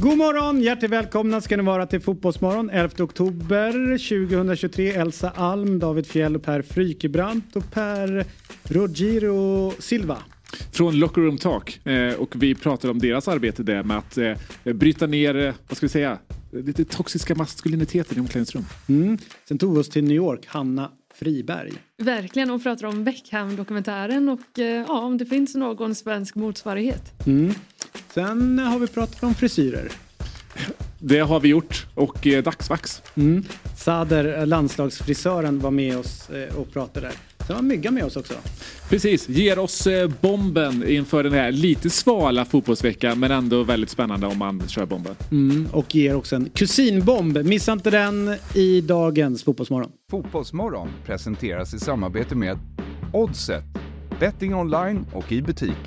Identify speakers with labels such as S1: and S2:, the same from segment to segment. S1: God morgon! Hjärtligt välkomna ska ni vara till Fotbollsmorgon 11 oktober 2023. Elsa Alm, David Fjell och Per Frykebrant och Per Rogiro Silva.
S2: Från Locker Room Talk. Eh, och vi pratade om deras arbete där med att eh, bryta ner, eh, vad ska vi säga, lite toxiska maskuliniteten i omklädningsrum.
S1: Mm. Sen tog vi oss till New York, Hanna Friberg.
S3: Verkligen, och pratar om Beckham-dokumentären och eh, ja, om det finns någon svensk motsvarighet.
S1: Mm. Sen har vi pratat om frisyrer.
S2: Det har vi gjort. Och eh, dagsvax.
S1: Mm. Sader, eh, landslagsfrisören, var med oss eh, och pratade där. Sen var Mygga med oss också.
S2: Precis, ger oss eh, bomben inför den här lite svala fotbollsveckan men ändå väldigt spännande om man kör bomben.
S1: Mm. Och ger också en kusinbomb. Missa inte den i dagens Fotbollsmorgon.
S4: Fotbollsmorgon presenteras i samarbete med Oddset, betting online och i butik.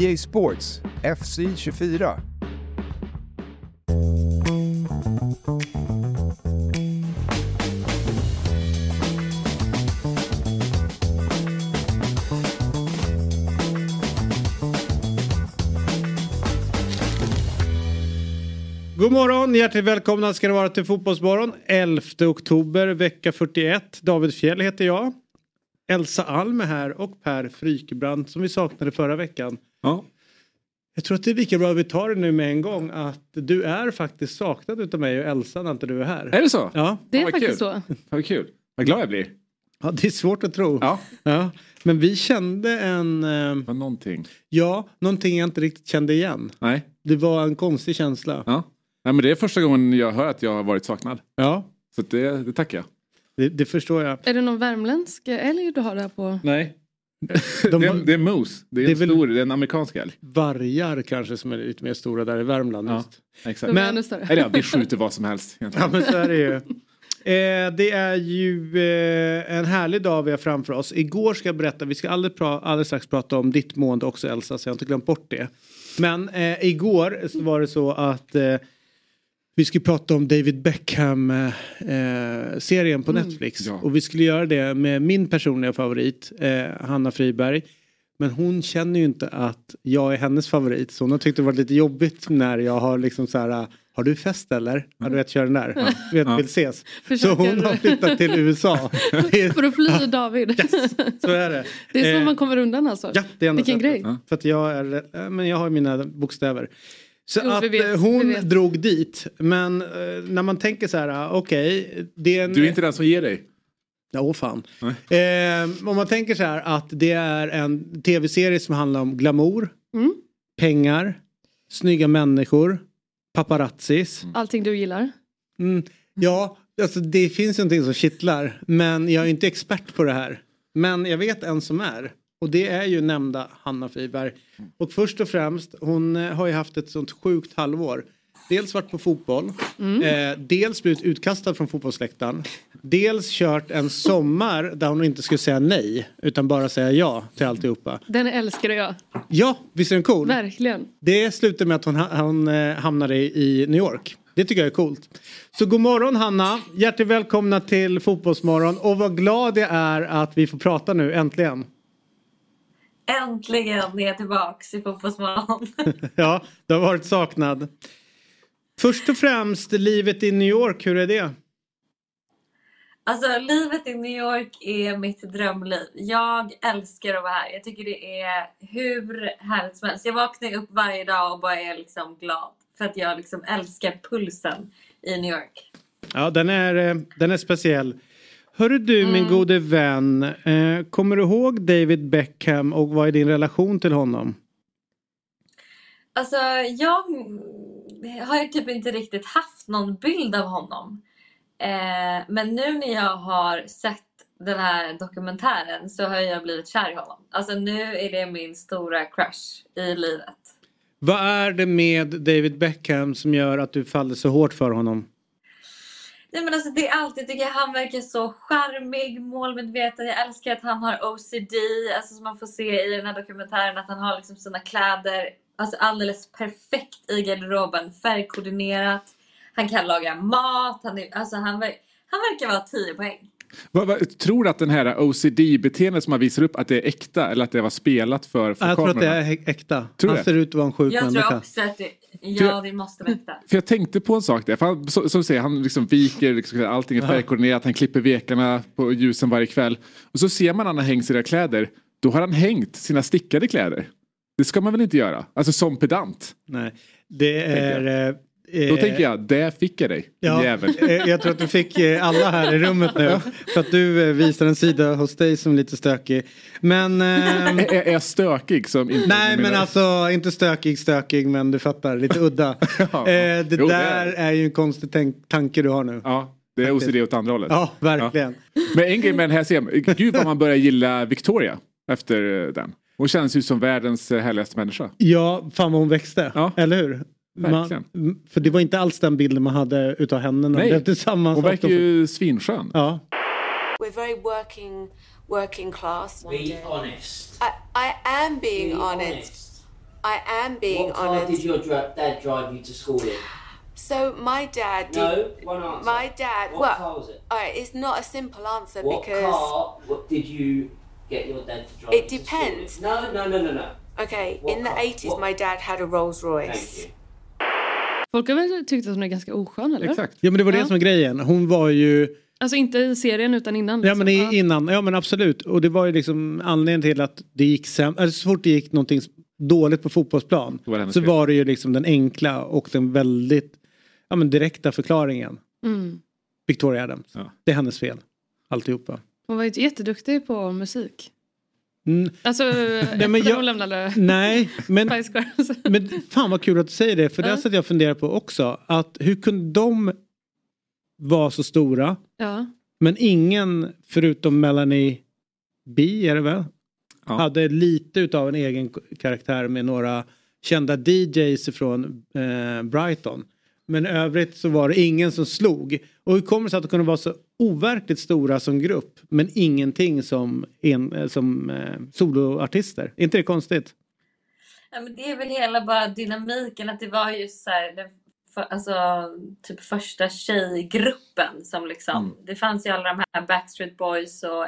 S4: EA Sports, FC24.
S1: God morgon, hjärtligt välkomna ska ni vara till Fotbollsmorgon. 11 oktober, vecka 41. David Fjell heter jag. Elsa Alm är här och Per Frykebrant som vi saknade förra veckan.
S2: Ja.
S1: Jag tror att det är lika bra att vi tar det nu med en gång att du är faktiskt saknad utav mig och Elsa när inte du är här.
S2: Är det så?
S1: Ja,
S3: Det är
S2: Vad
S3: faktiskt
S2: kul.
S3: så.
S2: Vad kul. Vad glad jag blir.
S1: ja det är svårt att tro.
S2: Ja.
S1: Ja, Men vi kände en, eh,
S2: Vad någonting.
S1: ja, någonting jag inte riktigt kände igen.
S2: Nej.
S1: Det var en konstig känsla.
S2: Ja. Nej men det är första gången jag hör att jag har varit saknad.
S1: Ja,
S2: Så att det, det tackar jag.
S1: det, det förstår jag.
S3: Är det någon värmländsk älg du har där på?
S2: Nej.
S1: De-
S2: det, är, det är Moose. Det är,
S1: Det är
S2: en
S1: väl-
S2: stor, det är en amerikansk älg.
S1: Vargar kanske som är lite mer stora där i Värmland.
S2: Ja.
S1: Just.
S2: Exakt.
S3: De
S1: Men-
S3: är ännu större.
S2: Eller ja, vi skjuter vad som helst.
S1: Ja
S2: egentligen.
S1: men så är det ju. Eh, det är ju eh, en härlig dag vi har framför oss. Igår ska jag berätta, vi ska alldeles, pra- alldeles strax prata om ditt mående också Elsa så jag har inte glömt bort det. Men eh, igår så var det så att eh, vi skulle prata om David Beckham-serien eh, serien
S3: Mm.
S1: på Netflix.
S2: Ja.
S1: Och vi skulle göra det med min personliga favorit, eh, Hanna Friberg. Men hon känner ju inte att jag är hennes favorit. Så hon har tyckt det varit lite jobbigt när jag har liksom så här. Har du fest eller? Ja du vet kör den där. Du vet vill ses. Så
S3: Mm. Försöker-
S1: hon har flyttat till USA. Det är-
S3: För att fly David.
S1: så är det.
S3: Det är så
S1: Eh,
S3: man kommer undan alltså.
S1: Ja, det är enda
S3: Vilken
S1: sättet.
S3: grej.
S2: Ja.
S1: För att jag är, eh, men jag har ju mina bokstäver. Så
S3: Jo, vi
S1: att
S3: vet,
S1: eh,
S3: vi
S1: hon
S3: vet.
S1: drog dit. Men eh, när man tänker så här, ah, okej. det är en...
S2: Du är inte den som ger dig.
S1: Ja, åh fan. Eh, om man tänker så här att det är en tv-serie som handlar om glamour,
S3: Mm.
S1: pengar, snygga människor, paparazzis.
S3: Allting du gillar.
S1: Mm. Ja, alltså det finns ju någonting som kittlar. Men jag är ju inte expert på det här. Men jag vet en som är. Och det är ju nämnda Hanna Friberg. Och först och främst, hon eh, har ju haft ett sånt sjukt halvår. Dels varit på fotboll, eh, dels blivit utkastad från fotbollsläktaren. Dels kört en sommar där hon inte skulle säga nej utan bara säga ja till alltihopa.
S3: Den älskar jag.
S1: Ja, visst är den cool?
S3: Verkligen.
S1: Det slutade med att hon, ha- hon eh, hamnade i i New York. Det tycker jag är coolt. Så god morgon Hanna. Hjärtligt välkomna till Fotbollsmorgon. Och vad glad jag är att vi får prata nu äntligen.
S5: Äntligen är jag tillbaks i Fotbollsmorgon.
S1: Ja, du har varit saknad. Först och främst, livet i New York, hur är det?
S5: Alltså, livet i New York är mitt drömliv. Jag älskar att vara här. Jag tycker det är hur härligt som helst. Jag vaknar ju upp varje dag och bara är liksom glad. För att jag liksom älskar pulsen i New York.
S1: Ja, den är, eh, den är speciell. Hörru du min gode vän, eh, kommer du ihåg David Beckham och vad är din relation till honom?
S5: Alltså, jag har ju typ inte riktigt haft någon bild av honom. Eh, men nu när jag har sett den här dokumentären så har jag blivit kär i honom. Alltså nu är det min stora crush i livet.
S1: Vad är det med David Beckham som gör att du faller så hårt för honom?
S5: Nej men alltså det är allt. Jag tycker han verkar så charmig, målmedveten. Jag älskar att han har OCD. Alltså som man får se i den här dokumentären att han har liksom sina kläder alltså alldeles perfekt i garderoben. Färgkoordinerat. Han kan laga mat. Han, är, alltså han, ver- han verkar vara 10 poäng.
S2: Vad- vad- tror du att den här OCD-beteendet som han visar upp att det är äkta eller att det var spelat för, för
S1: Jag tror att det
S2: kamerorna?
S1: är hä- äkta.
S2: Tror du
S1: Han
S2: det?
S1: ser ut att vara en sjuk
S5: Jag tror
S1: människa.
S5: också att det, ja, det måste vara äkta.
S2: För jag tänkte på en sak där. För han, så- som du säger, han liksom viker liksom, allting är färgkoordinerat. Han klipper vekarna på ljusen varje kväll. Och så ser man när han har hängt sina kläder. Då har han hängt sina stickade kläder. Det ska man väl inte göra? Alltså som pedant.
S1: Nej. Det
S2: Tänker
S1: är... eh,
S2: Då tänker jag, där fick jag dig.
S1: Ja,
S2: Jävel.
S1: eh, jag tror att du fick eh, alla här i rummet nu. För att du eh, visar en sida hos dig som är lite stökig. Men... ehm,
S2: Är, är jag stökig som inte...
S1: Nej men
S2: menar-
S1: alltså inte stökig stökig men du fattar lite udda.
S2: Ja.
S1: eh, det
S2: Jo, det
S1: där
S2: är-
S1: är ju en konstig tänk- tanke du har nu. Ja,
S2: Ja, det är OCD åt andra hållet.
S1: verkligen.
S2: Men en grej med den här scenen. Gud vad man börjar gilla Victoria efter eh, den. Hon känns ju som världens eh, härligaste människa.
S1: Ja fan vad hon växte.
S2: Ja.
S1: Eller hur?
S2: Verkligen.
S1: Man, för det var inte alls den bilden man hade utav henne när de
S2: Nej.
S1: blev tillsammans.
S2: Hon verkar ju svinskön.
S1: Ja.
S6: We're very working, working class.
S7: Be honest.
S6: I, I am being
S7: Be
S6: honest. I am being
S7: What car did
S6: honest.
S7: your dra- dad drive you to school in?
S6: So my dad did.
S7: No, one answer.
S6: My dad.
S7: What
S6: well,
S7: car was it?
S6: All right, it's not a simple answer
S7: What
S6: because.
S7: car what did you get your dad to drive
S6: It
S7: you
S6: depends.
S7: To school in? No, no, no, no, no.
S6: Okay,
S7: What
S6: in the
S7: car?
S6: 80s,
S7: What-
S6: my dad had a Rolls
S7: Thank
S6: Royce.
S7: you.
S3: Folk har väl tyckt att hon är ganska oskön eller?
S2: Exakt.
S1: ja men det var det
S3: Ja.
S1: som var grejen. Hon var ju
S3: Alltså inte i serien utan innan.
S1: Ja men i-
S3: liksom.
S1: innan, ja men absolut. Och det var ju liksom anledningen till att det gick sämre, eller så fort det gick någonting dåligt på fotbollsplan
S2: var det hennes
S1: så
S2: fel.
S1: var det ju liksom den enkla och den väldigt ja, men direkta förklaringen.
S3: Ja. Mm.
S1: Victoria Adams.
S2: Ja.
S1: Det är hennes fel. Alltihopa.
S3: Hon var ju jätteduktig på musik.
S1: Mm,
S3: Alltså efter
S1: men jag-
S3: hon lämnade alltså.
S1: nej, men,
S3: Spice Girls.
S1: men fan vad kul att du säger det för det
S3: Ja.
S1: satt jag och funderade på också. Att hur kunde de vara så stora
S3: ja.
S1: men ingen förutom Melanie B är det väl?
S2: Ja.
S1: hade lite utav en egen k- karaktär med några kända DJs från eh, Brighton. Men i övrigt så var det ingen som slog. Och hur kommer det sig att de kunde vara så overkligt stora som grupp men ingenting som, en, eh, som eh, soloartister? Är inte det konstigt?
S5: Ja, men det är väl hela bara dynamiken att det var ju så här, den, för, alltså, typ första tjejgruppen som liksom.
S1: Mm.
S5: Det fanns ju alla de här Backstreet Boys och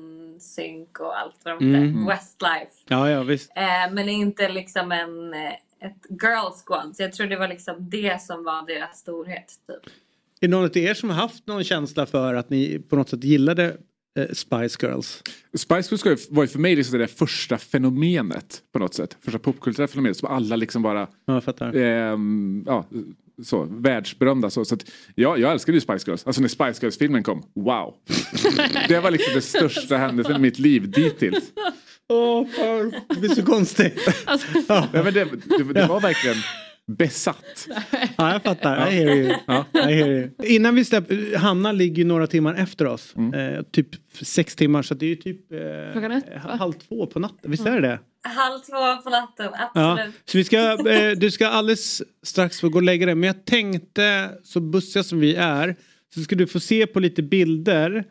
S5: NSYNC och allt vad de hette.
S1: Mm.
S5: Westlife.
S1: Ja, ja visst.
S5: Eh, men inte liksom en, eh, ett girl squad. Så jag tror det var liksom det som var deras storhet. Typ.
S1: Är det någon av er som har haft någon känsla för att ni på något sätt gillade eh, Spice Girls?
S2: Spice Girls var ju- var ju för mig liksom det där första fenomenet på något sätt. Första popkulturella fenomenet som alla liksom bara,
S1: Ja, jag fattar.
S2: ehm, ja, så, världsberömda. Så, så att, ja, jag älskade ju Spice Girls. Alltså när Spice Girls-filmen kom, wow. det var liksom det största händelsen i mitt liv dittills.
S1: Åh, fan. Det blir så konstigt.
S2: Ja, men det, det, det var verkligen besatt.
S1: Ja, jag fattar. I hear you.
S2: Ja.
S1: I hear you. Innan vi släpper, Hanna ligger ju några timmar efter oss. Eh, typ sex timmar så det är ju typ eh,
S3: Klockan ett, va?
S1: halv två på natten. Visst är det det?
S5: Halv två på natten,
S1: Ja.
S5: absolut.
S1: Så vi ska, eh, du ska alldeles strax få gå och lägga dig. Men jag tänkte, så bussiga som vi är, så ska du få se på lite bilder.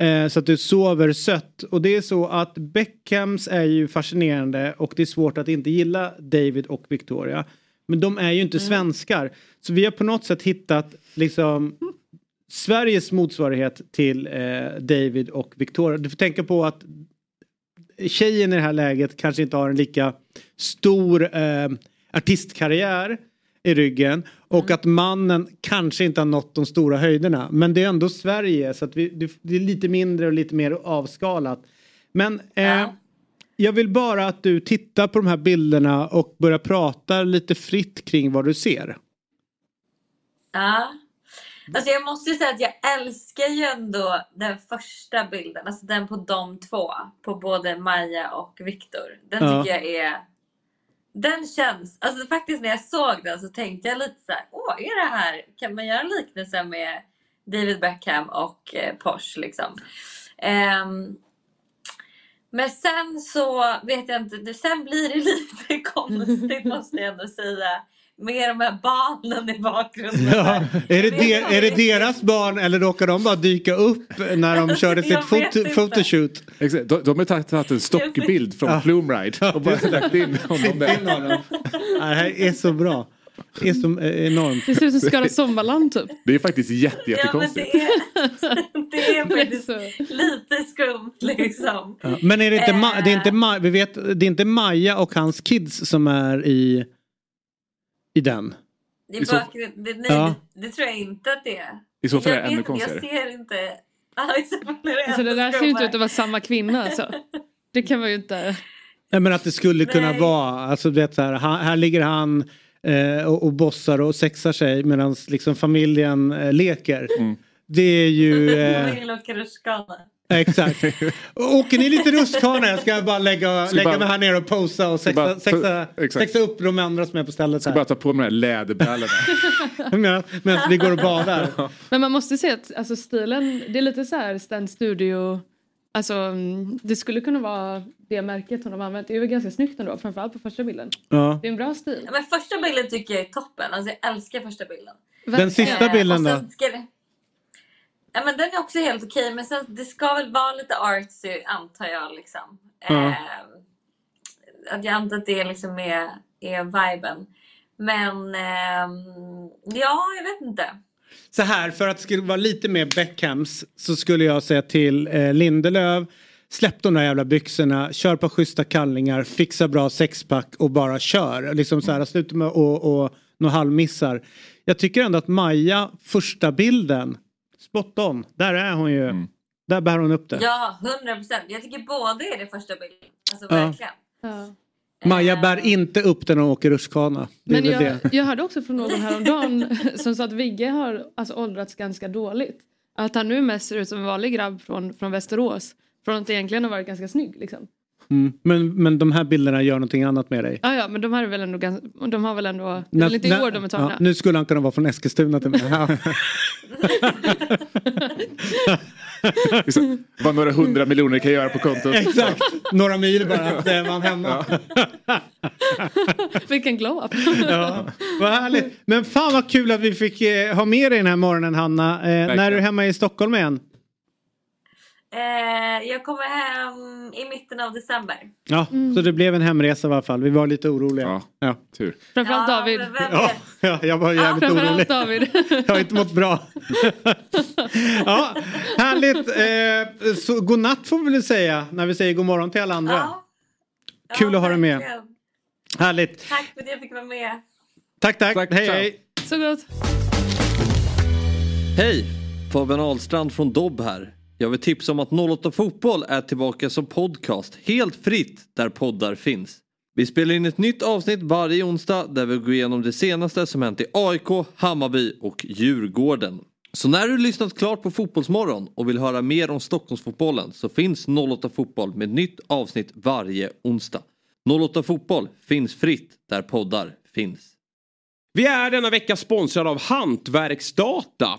S1: Eh, så att du sover sött. Och det är så att Beckhams är ju fascinerande och det är svårt att inte gilla David och Victoria. Men de är ju inte svenskar. Så vi har på något sätt hittat liksom Sveriges motsvarighet till eh, David och Victoria. Du får tänka på att tjejen i det här läget kanske inte har en lika stor eh, artistkarriär i ryggen och
S5: Mm.
S1: att mannen kanske inte har nått de stora höjderna. Men det är ändå Sverige så att vi, det- det är lite mindre och lite mer avskalat. Men eh,
S5: Ja.
S1: jag vill bara att du tittar på de här bilderna och börjar prata lite fritt kring vad du ser.
S5: Ja. Alltså jag måste ju säga att jag älskar ju ändå den första bilden, alltså den på de två, på både Maja och Viktor. Den
S1: Ja.
S5: tycker jag är... Den känns, alltså faktiskt när jag såg den så tänkte jag lite så här, åh är det här, kan man göra en liknelse med David Beckham och eh, Porsche liksom? Ehm, men sen så vet jag inte, det- sen blir det lite konstigt måste jag ändå säga. Med de här barnen i bakgrunden.
S1: Ja, är, det
S5: Jag vet
S1: de,
S5: inte
S1: är det
S5: riktigt.
S1: deras barn eller råkar de bara dyka upp när de körde sitt
S5: Jag vet
S1: fot-
S5: inte.
S1: photoshoot?
S2: Exakt, De, de har tagit- tagit en stockbild från Plume Ride och bara lagt in honom där.
S1: Nej, Det här är så bra. Det är så eh, enormt.
S3: Det ser ut som Skara Sommarland typ.
S2: Det är faktiskt jätte,
S5: Ja, men
S2: jättekonstigt.
S5: det är, det är
S3: Det är
S5: faktiskt
S3: så.
S5: lite skumt liksom.
S1: Ja. Men är det inte, Ma-
S5: Eh.
S1: det är inte, Ma- vi vet, det är inte Maja och hans kids som är i, i den?
S5: Det,
S2: I
S5: är
S2: så-
S5: bakgrund, det, nej,
S1: Ja.
S5: det, det tror jag inte att det är.
S2: I så fall är
S5: jag
S2: det ännu
S5: vet inte,
S2: konstigare.
S5: Jag ser inte. Alltså,
S3: Alltså det där ser ju inte ut att vara samma kvinna alltså. Det kan man ju inte.
S1: Nej men att det skulle kunna
S5: Nej.
S1: vara, alltså du vet så här, ha- här ligger han eh, och, och bossar och sexar sig medan liksom familjen eh, leker.
S2: Mm.
S1: Det är ju... Eh,
S5: Vill och rutschkana.
S1: exakt. Åker ni lite rutschkana? Jag ska bara lägga,
S2: Ska
S1: lägga
S2: bara-
S1: mig här nere och posa och sexa,
S2: bara ta-
S1: sexa,
S2: exakt.
S1: sexa upp de andra som är på stället
S2: Bara
S1: här.
S2: ta på mig de här läderbrallorna.
S1: Medan, medan vi går och badar.
S3: Men man måste säga att alltså, stilen, det är lite så här Sten Studio. Alltså mm, det skulle kunna vara det märket hon har använt. Det är ju ganska snyggt ändå, framförallt på första bilden.
S1: Ja.
S3: Det är en bra stil.
S5: Men första bilden tycker jag är toppen. Alltså jag älskar första bilden.
S1: Den sista
S5: Eh,
S1: bilden
S5: och
S1: då?
S5: sen Ska det... ja, men den är också helt okej men sen, det ska väl vara lite artsy antar jag. Liksom.
S1: Ja.
S5: Eh, att jag antar att det liksom är, är viben. Men ehm, ja, jag vet inte.
S1: Så här, för att det skulle vara lite mer Beckhams så skulle jag säga till eh, Lindelöf Släpp de där jävla byxorna, kör på schyssta kallingar, fixa bra sexpack och bara kör. Liksom så här, sluta med att och, och, några halvmissar. Jag tycker ändå att Maja, första bilden, spot on. Där är hon ju. Där bär hon upp det.
S5: Ja, 100 procent. Jag tycker båda är det första bilden. Alltså
S1: Ja.
S5: verkligen.
S3: Ja.
S1: Maja bär inte upp den när hon åker rutschkana. Det är
S3: Men
S1: väl
S3: jag,
S1: det.
S3: jag hörde också från någon häromdagen som sa att Vigge har alltså, åldrats ganska dåligt. Att han nu mest ser ut som en vanlig grabb från, från Västerås. Från att egentligen ha varit ganska snygg. Liksom.
S1: Mm. Men, men de här bilderna gör någonting annat med dig.
S3: Ja, ja, men de här är väl ändå ganska... De har väl ändå... det är väl inte
S1: När-
S3: igår de är tagna.
S1: ja, nu skulle han kunna vara från Eskilstuna till mig.
S2: Liksom, Vad några hundra miljoner kan göra på kontot.
S1: Exakt, några mil bara att eh, man hemma.
S3: Vilken glow-up.
S1: Ja. Vad härligt. Men fan vad kul att vi fick eh, ha med dig den här morgonen Hanna. Eh, när är du hemma i Stockholm igen?
S5: Eh, jag kommer hem i mitten av december.
S1: Ja, så det blev en hemresa i alla fall. Vi var lite oroliga.
S2: Ja.
S1: Ja,
S2: Tur.
S3: Framförallt
S5: Ja,
S3: David.
S5: men vem
S1: ja.
S5: vet?
S1: ja jag var jävligt orolig.
S3: Framförallt David.
S1: Jag har inte mått bra. ja, härligt. Eh, så god natt får vi väl säga när vi säger god morgon till alla andra.
S5: Ja. Ja,
S1: Kul att ha dig med.
S5: verkligen.
S1: Härligt.
S5: Tack för att jag fick vara med.
S1: Tack, tack.
S8: Tack,
S1: hej,
S8: ciao.
S1: hej.
S3: Så gott.
S8: Hej! Fabian Ahlstrand från Dobb här. Jag vill tipsa om att 08 Fotboll är tillbaka som podcast helt fritt där poddar finns. Vi spelar in ett nytt avsnitt varje onsdag där vi går igenom det senaste som hänt i AIK, Hammarby och Djurgården. Så när du lyssnat klart på Fotbollsmorgon och vill höra mer om Stockholmsfotbollen så finns 08 Fotboll med nytt avsnitt varje onsdag. 08 Fotboll finns fritt där poddar finns.
S9: Vi är denna vecka sponsrade av Hantverksdata.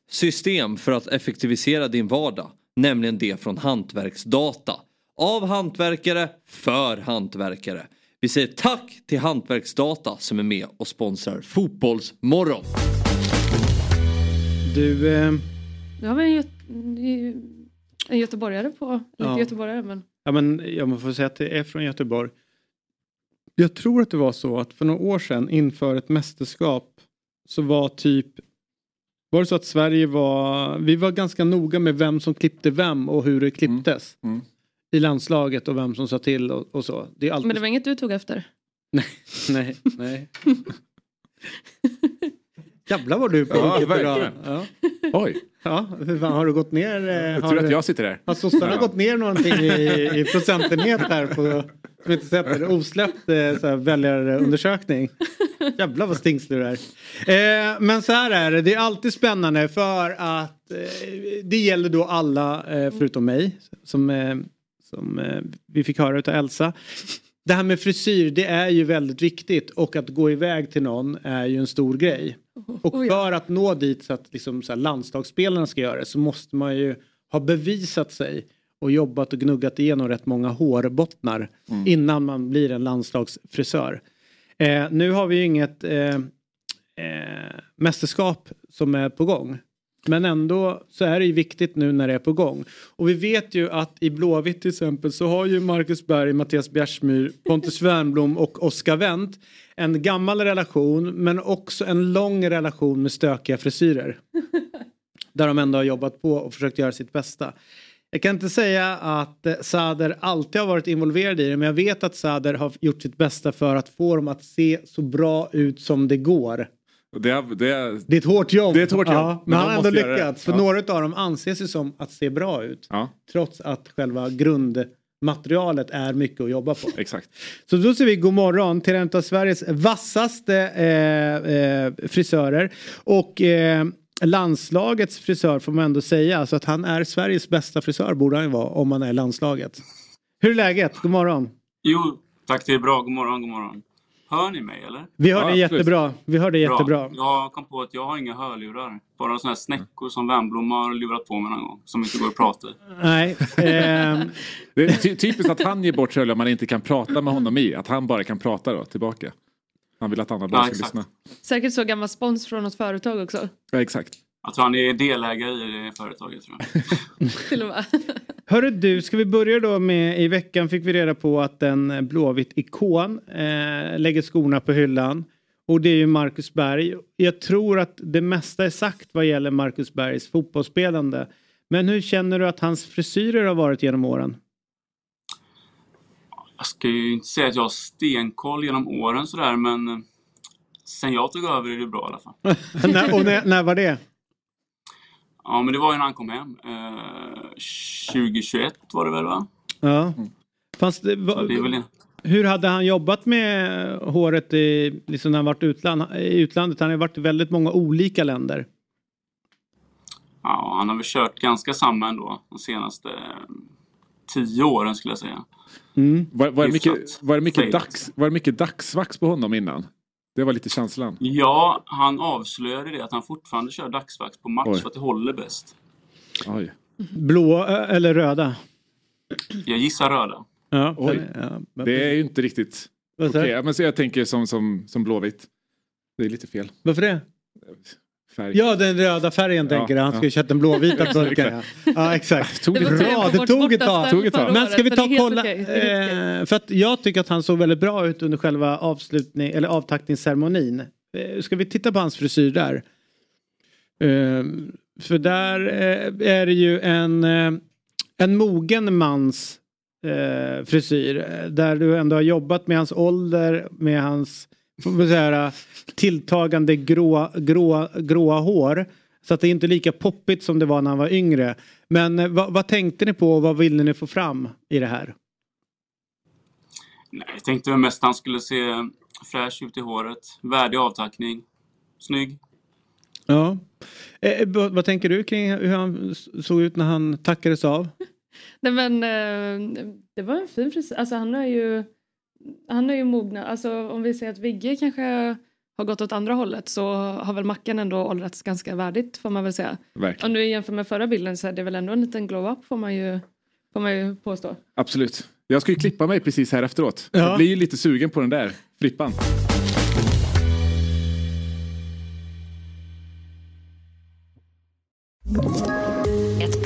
S8: system för att effektivisera din vardag. Nämligen det från Hantverksdata. Av hantverkare, för hantverkare. Vi säger tack till Hantverksdata som är med och sponsrar Fotbollsmorgon.
S1: Du, eh,
S3: Nu har vi en, gö- en göteborgare på. Eller
S1: Ja.
S3: inte göteborgare men.
S1: ja, men jag får säga att det är från Göteborg. Jag tror att det var så att för några år sedan inför ett mästerskap så var typ var det så att Sverige var, vi var ganska noga med vem som klippte vem och hur det klipptes.
S2: Mm.
S1: I landslaget och vem som sa till och, och så. Det är alltid
S3: Men det var inget du tog efter.
S1: Nej, nej. Jävlar vad du är
S2: Ja,
S1: pigg upp idag.
S2: verkligen.
S1: Ja.
S2: Oj,
S1: Ja, hur fan, har du gått ner? eh,
S2: jag
S1: Har,
S2: tror att
S1: du-
S2: jag sitter där.
S1: Alltså, har
S10: Alltså-
S1: sossarna
S2: Ja.
S1: gått ner någonting i, i procentenhet här på som inte släppt, osläppt eh, så här, väljarundersökning? Jävlar vad stingslig du är. Eh, men så här är det, det är alltid spännande för att eh, det gäller då alla eh, förutom mig som, eh, som eh, vi fick höra utav Elsa. Det här med frisyr det är ju väldigt viktigt och att gå iväg till någon är ju en stor grej. Och
S3: Oj,
S1: för att nå dit så att liksom så här landslagsspelarna ska göra det så måste man ju ha bevisat sig och jobbat och gnuggat igenom rätt många hårbottnar innan man blir en landslagsfrisör. Eh, nu har vi ju inget eh, eh, mästerskap som är på gång. Men ändå så är det ju viktigt nu när det är på gång. Och vi vet ju att i Blåvitt till exempel så har ju Marcus Berg, Mattias Bjärsmyr, Pontus Wernbloom och Oskar Wendt en gammal relation men också en lång relation med stökiga frisyrer. Där de ändå har jobbat på och försökt göra sitt bästa. Jag kan inte säga att eh, Sader alltid har varit involverad i det men jag vet att Sader har gjort sitt bästa för att få dem att se så bra ut som det går.
S2: Och Det, det,
S1: Det är ett hårt jobb.
S2: Det är ett hårt jobb.
S1: Ja, men
S2: Men
S1: han
S2: de
S1: har ändå
S2: måste göra det.
S1: lyckats. För
S2: Ja.
S1: några av dem anses ju som att se bra ut.
S2: ja,
S1: Trots att själva grundmaterialet är mycket att jobba på.
S2: exakt.
S1: Så då säger vi god morgon till en av Sveriges vassaste eh, eh, frisörer. Och eh, landslagets frisör får man ändå säga. Så att han är Sveriges bästa frisör borde han ju vara om han är i landslaget. Hur är läget? God morgon.
S10: Jo, tack. Det är bra. God morgon, god morgon. Hör ni mig eller?
S1: Vi hör
S2: Ja,
S1: dig
S2: absolut.
S1: jättebra. Vi hör dig jättebra.
S10: Jag kom på att jag har inga hörlurar. Bara såna här snäckor som Värnblom har lurat på mig någon gång. Som inte går att prata i.
S1: Nej. ehm,
S2: Det är ty- typiskt att han ger bort sig om man inte kan prata med honom i. Att han bara kan prata då, tillbaka. Han vill att andra bara
S10: Ja,
S2: ska
S10: exakt.
S2: lyssna.
S3: Säkert så gammal spons från något företag också.
S2: Ja, exakt.
S10: Jag tror han är delägare i det företaget. Tror jag.
S3: Till och med.
S1: Hörru du, ska vi börja då med i veckan fick vi reda på att en blåvitt ikon eh, lägger skorna på hyllan. Och det är ju Marcus Berg. Jag tror att det mesta är sagt vad gäller Marcus Bergs fotbollsspelande. Men hur känner du att hans frisyrer har varit genom åren?
S10: jag ska ju inte säga att jag har stenkoll genom åren sådär, men eh, sen jag tog över är det bra i alla fall.
S1: när, och när, när var det?
S10: Ja, men det var ju när han kom hem. Eh, 2021 var det väl va?
S1: Ja. Fanns Mm. det,
S10: Så
S1: va,
S10: det är väl...
S1: hur hade han jobbat med håret i, liksom när han varit utland, i utlandet? Han har ju varit i väldigt många olika länder.
S10: Ja, han har väl kört ganska samma ändå de senaste eh, tio åren skulle jag säga.
S1: Mm.
S2: Var, var, det
S10: Hyfsat.
S2: mycket, var, det mycket
S10: Fint.
S2: dags, var det mycket dagsvax på honom innan? Det var lite känslan.
S10: Ja, han avslöjade det att han fortfarande kör dagsvax på match
S2: Oj.
S10: för att det håller bäst.
S2: Oj.
S1: Blå ö, eller röda?
S10: Jag gissar röda.
S1: Ja,
S2: Oj.
S1: den- ja, men-
S2: Det är ju inte riktigt
S1: Vad sa
S2: okej.
S1: du?
S2: Ja, men så jag tänker som, som, som Blåvitt. Det är lite fel
S1: Varför det?
S2: färg.
S1: Ja, den röda färgen
S2: Ja,
S1: tänker jag. Han
S2: ja.
S1: skulle kört den blåvita burken. Ja,
S2: Exakt.
S1: ja exakt.
S2: Tog
S3: Det
S2: det
S3: var
S1: Bra,
S3: tydligen
S1: det
S3: vårt
S1: tog ett
S3: borta
S1: tag.
S2: Tog ett
S3: förra
S2: tag.
S1: Men ska vi
S3: året,
S1: ta
S3: så
S1: och
S3: det är helt
S1: kolla?
S3: okej. Det är helt okej.
S1: Eh, för att jag tycker att han såg väldigt bra ut under själva avslutning eller avtackningsceremonin. Eh, ska vi titta på hans frisyr där? Eh, för där eh, är det ju en, eh, en mogen mans eh, frisyr. eh, Där du ändå har jobbat med hans ålder, med hans får man säga, tilltagande grå, grå, gråa hår. Så att det är inte lika poppigt som det var när han var yngre. Men eh, vad, vad tänkte ni på och vad ville ni få fram i det här?
S10: Nej, jag tänkte väl mest att han skulle se fräsch ut i håret. Värdig avtackning. Snygg.
S1: Ja. Eh, vad, vad tänker du kring hur han s- såg ut när han tackades av?
S3: Nej men eh, det var en fin frisyr. Alltså han är ju han är ju mogna. Alltså om vi säger att Vigge kanske har gått åt andra hållet så har väl Mackan ändå åldrats ganska värdigt får man väl säga.
S2: Verkligen.
S3: Om du jämför med förra bilden så är det väl ändå en liten glow-up får man ju, får man ju påstå.
S2: Absolut. Jag ska ju klippa mig precis här efteråt.
S1: Ja.
S2: Jag blir ju lite sugen på den där frippan.
S11: Ett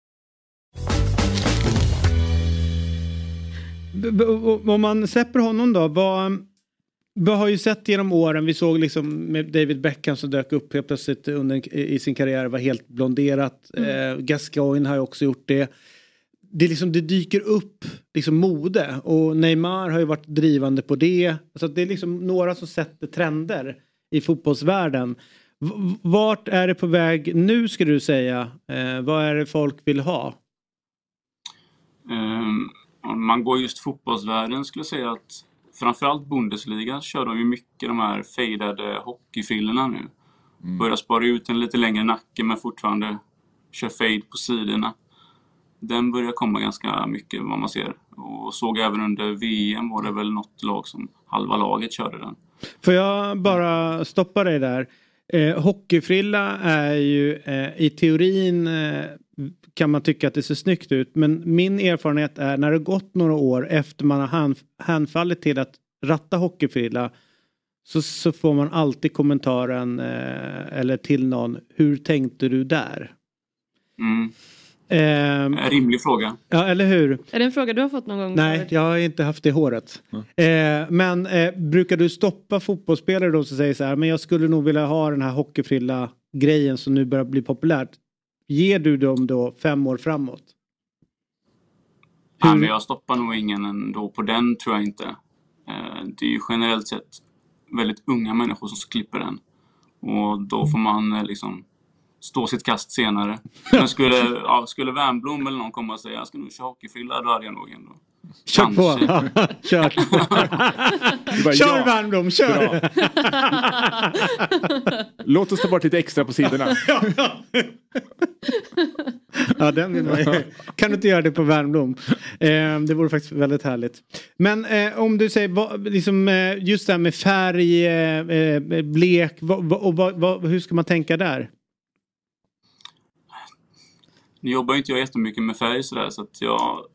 S1: B- b- o- Om man släpper honom då, vad... Vi har ju sett genom åren, vi såg liksom med David Beckham som dök upp helt plötsligt under, i sin karriär, var helt blonderat.
S12: Mm.
S1: Eh, Gascoigne har ju också gjort det. Det, är liksom, det dyker upp liksom mode och Neymar har ju varit drivande på det. Så att det är liksom några som sätter trender i fotbollsvärlden. V- v- vart är det på väg nu skulle du säga? Eh, vad är det folk vill ha?
S10: Ehm, om man går just fotbollsvärlden skulle jag säga att framförallt Bundesliga kör de ju mycket de här fejdade hockeyfyllorna nu. Börjar spara ut en lite längre nacke men fortfarande kör fade på sidorna. Den börjar komma ganska mycket vad man ser. Och såg även under VM var det väl något lag som halva laget körde den.
S1: Får jag bara stoppa dig där? Eh, hockeyfrilla är ju eh, i teorin eh, kan man tycka att det ser snyggt ut men min erfarenhet är när det gått några år efter man har hän, hänfallit till att ratta hockeyfrilla så, så får man alltid kommentaren eh, eller till någon hur tänkte du där?
S10: Mm.
S1: Ehm,
S10: En rimlig fråga.
S1: ja eller hur?
S3: Är det en fråga du har fått någon gång?
S1: Nej,
S3: förut?
S1: jag har inte haft det i håret. Eh, men eh, brukar du stoppa fotbollsspelare då som säger så här, men jag skulle nog vilja ha den här hockeyfrilla grejen som nu börjar bli populärt. Ger du dem då fem år framåt?
S10: Nej, men jag stoppar nog ingen ändå på den, tror jag inte. Eh, Det är ju generellt sett väldigt unga människor som klipper den. Och då får man eh, liksom stå sitt kast senare. Men skulle, ja, skulle Wernbloom eller någon komma och säga jag ska nog köra hockeyfrilla, då hade jag nog ändå...
S1: Kör på! kör!
S2: bara,
S1: kör
S2: ja.
S1: Värmblom, kör!
S2: Bra. Låt oss ta bort lite extra på sidorna.
S1: Ja, den vill man ju. Kan du inte göra det på Värmblom? Eh, det vore faktiskt väldigt härligt. Men eh, om du säger, vad, liksom, eh, just det här med färg, eh, eh, blek, vad, vad, och vad, vad, hur ska man tänka där?
S10: Nu jobbar ju inte jag jättemycket med färg sådär, så att jag...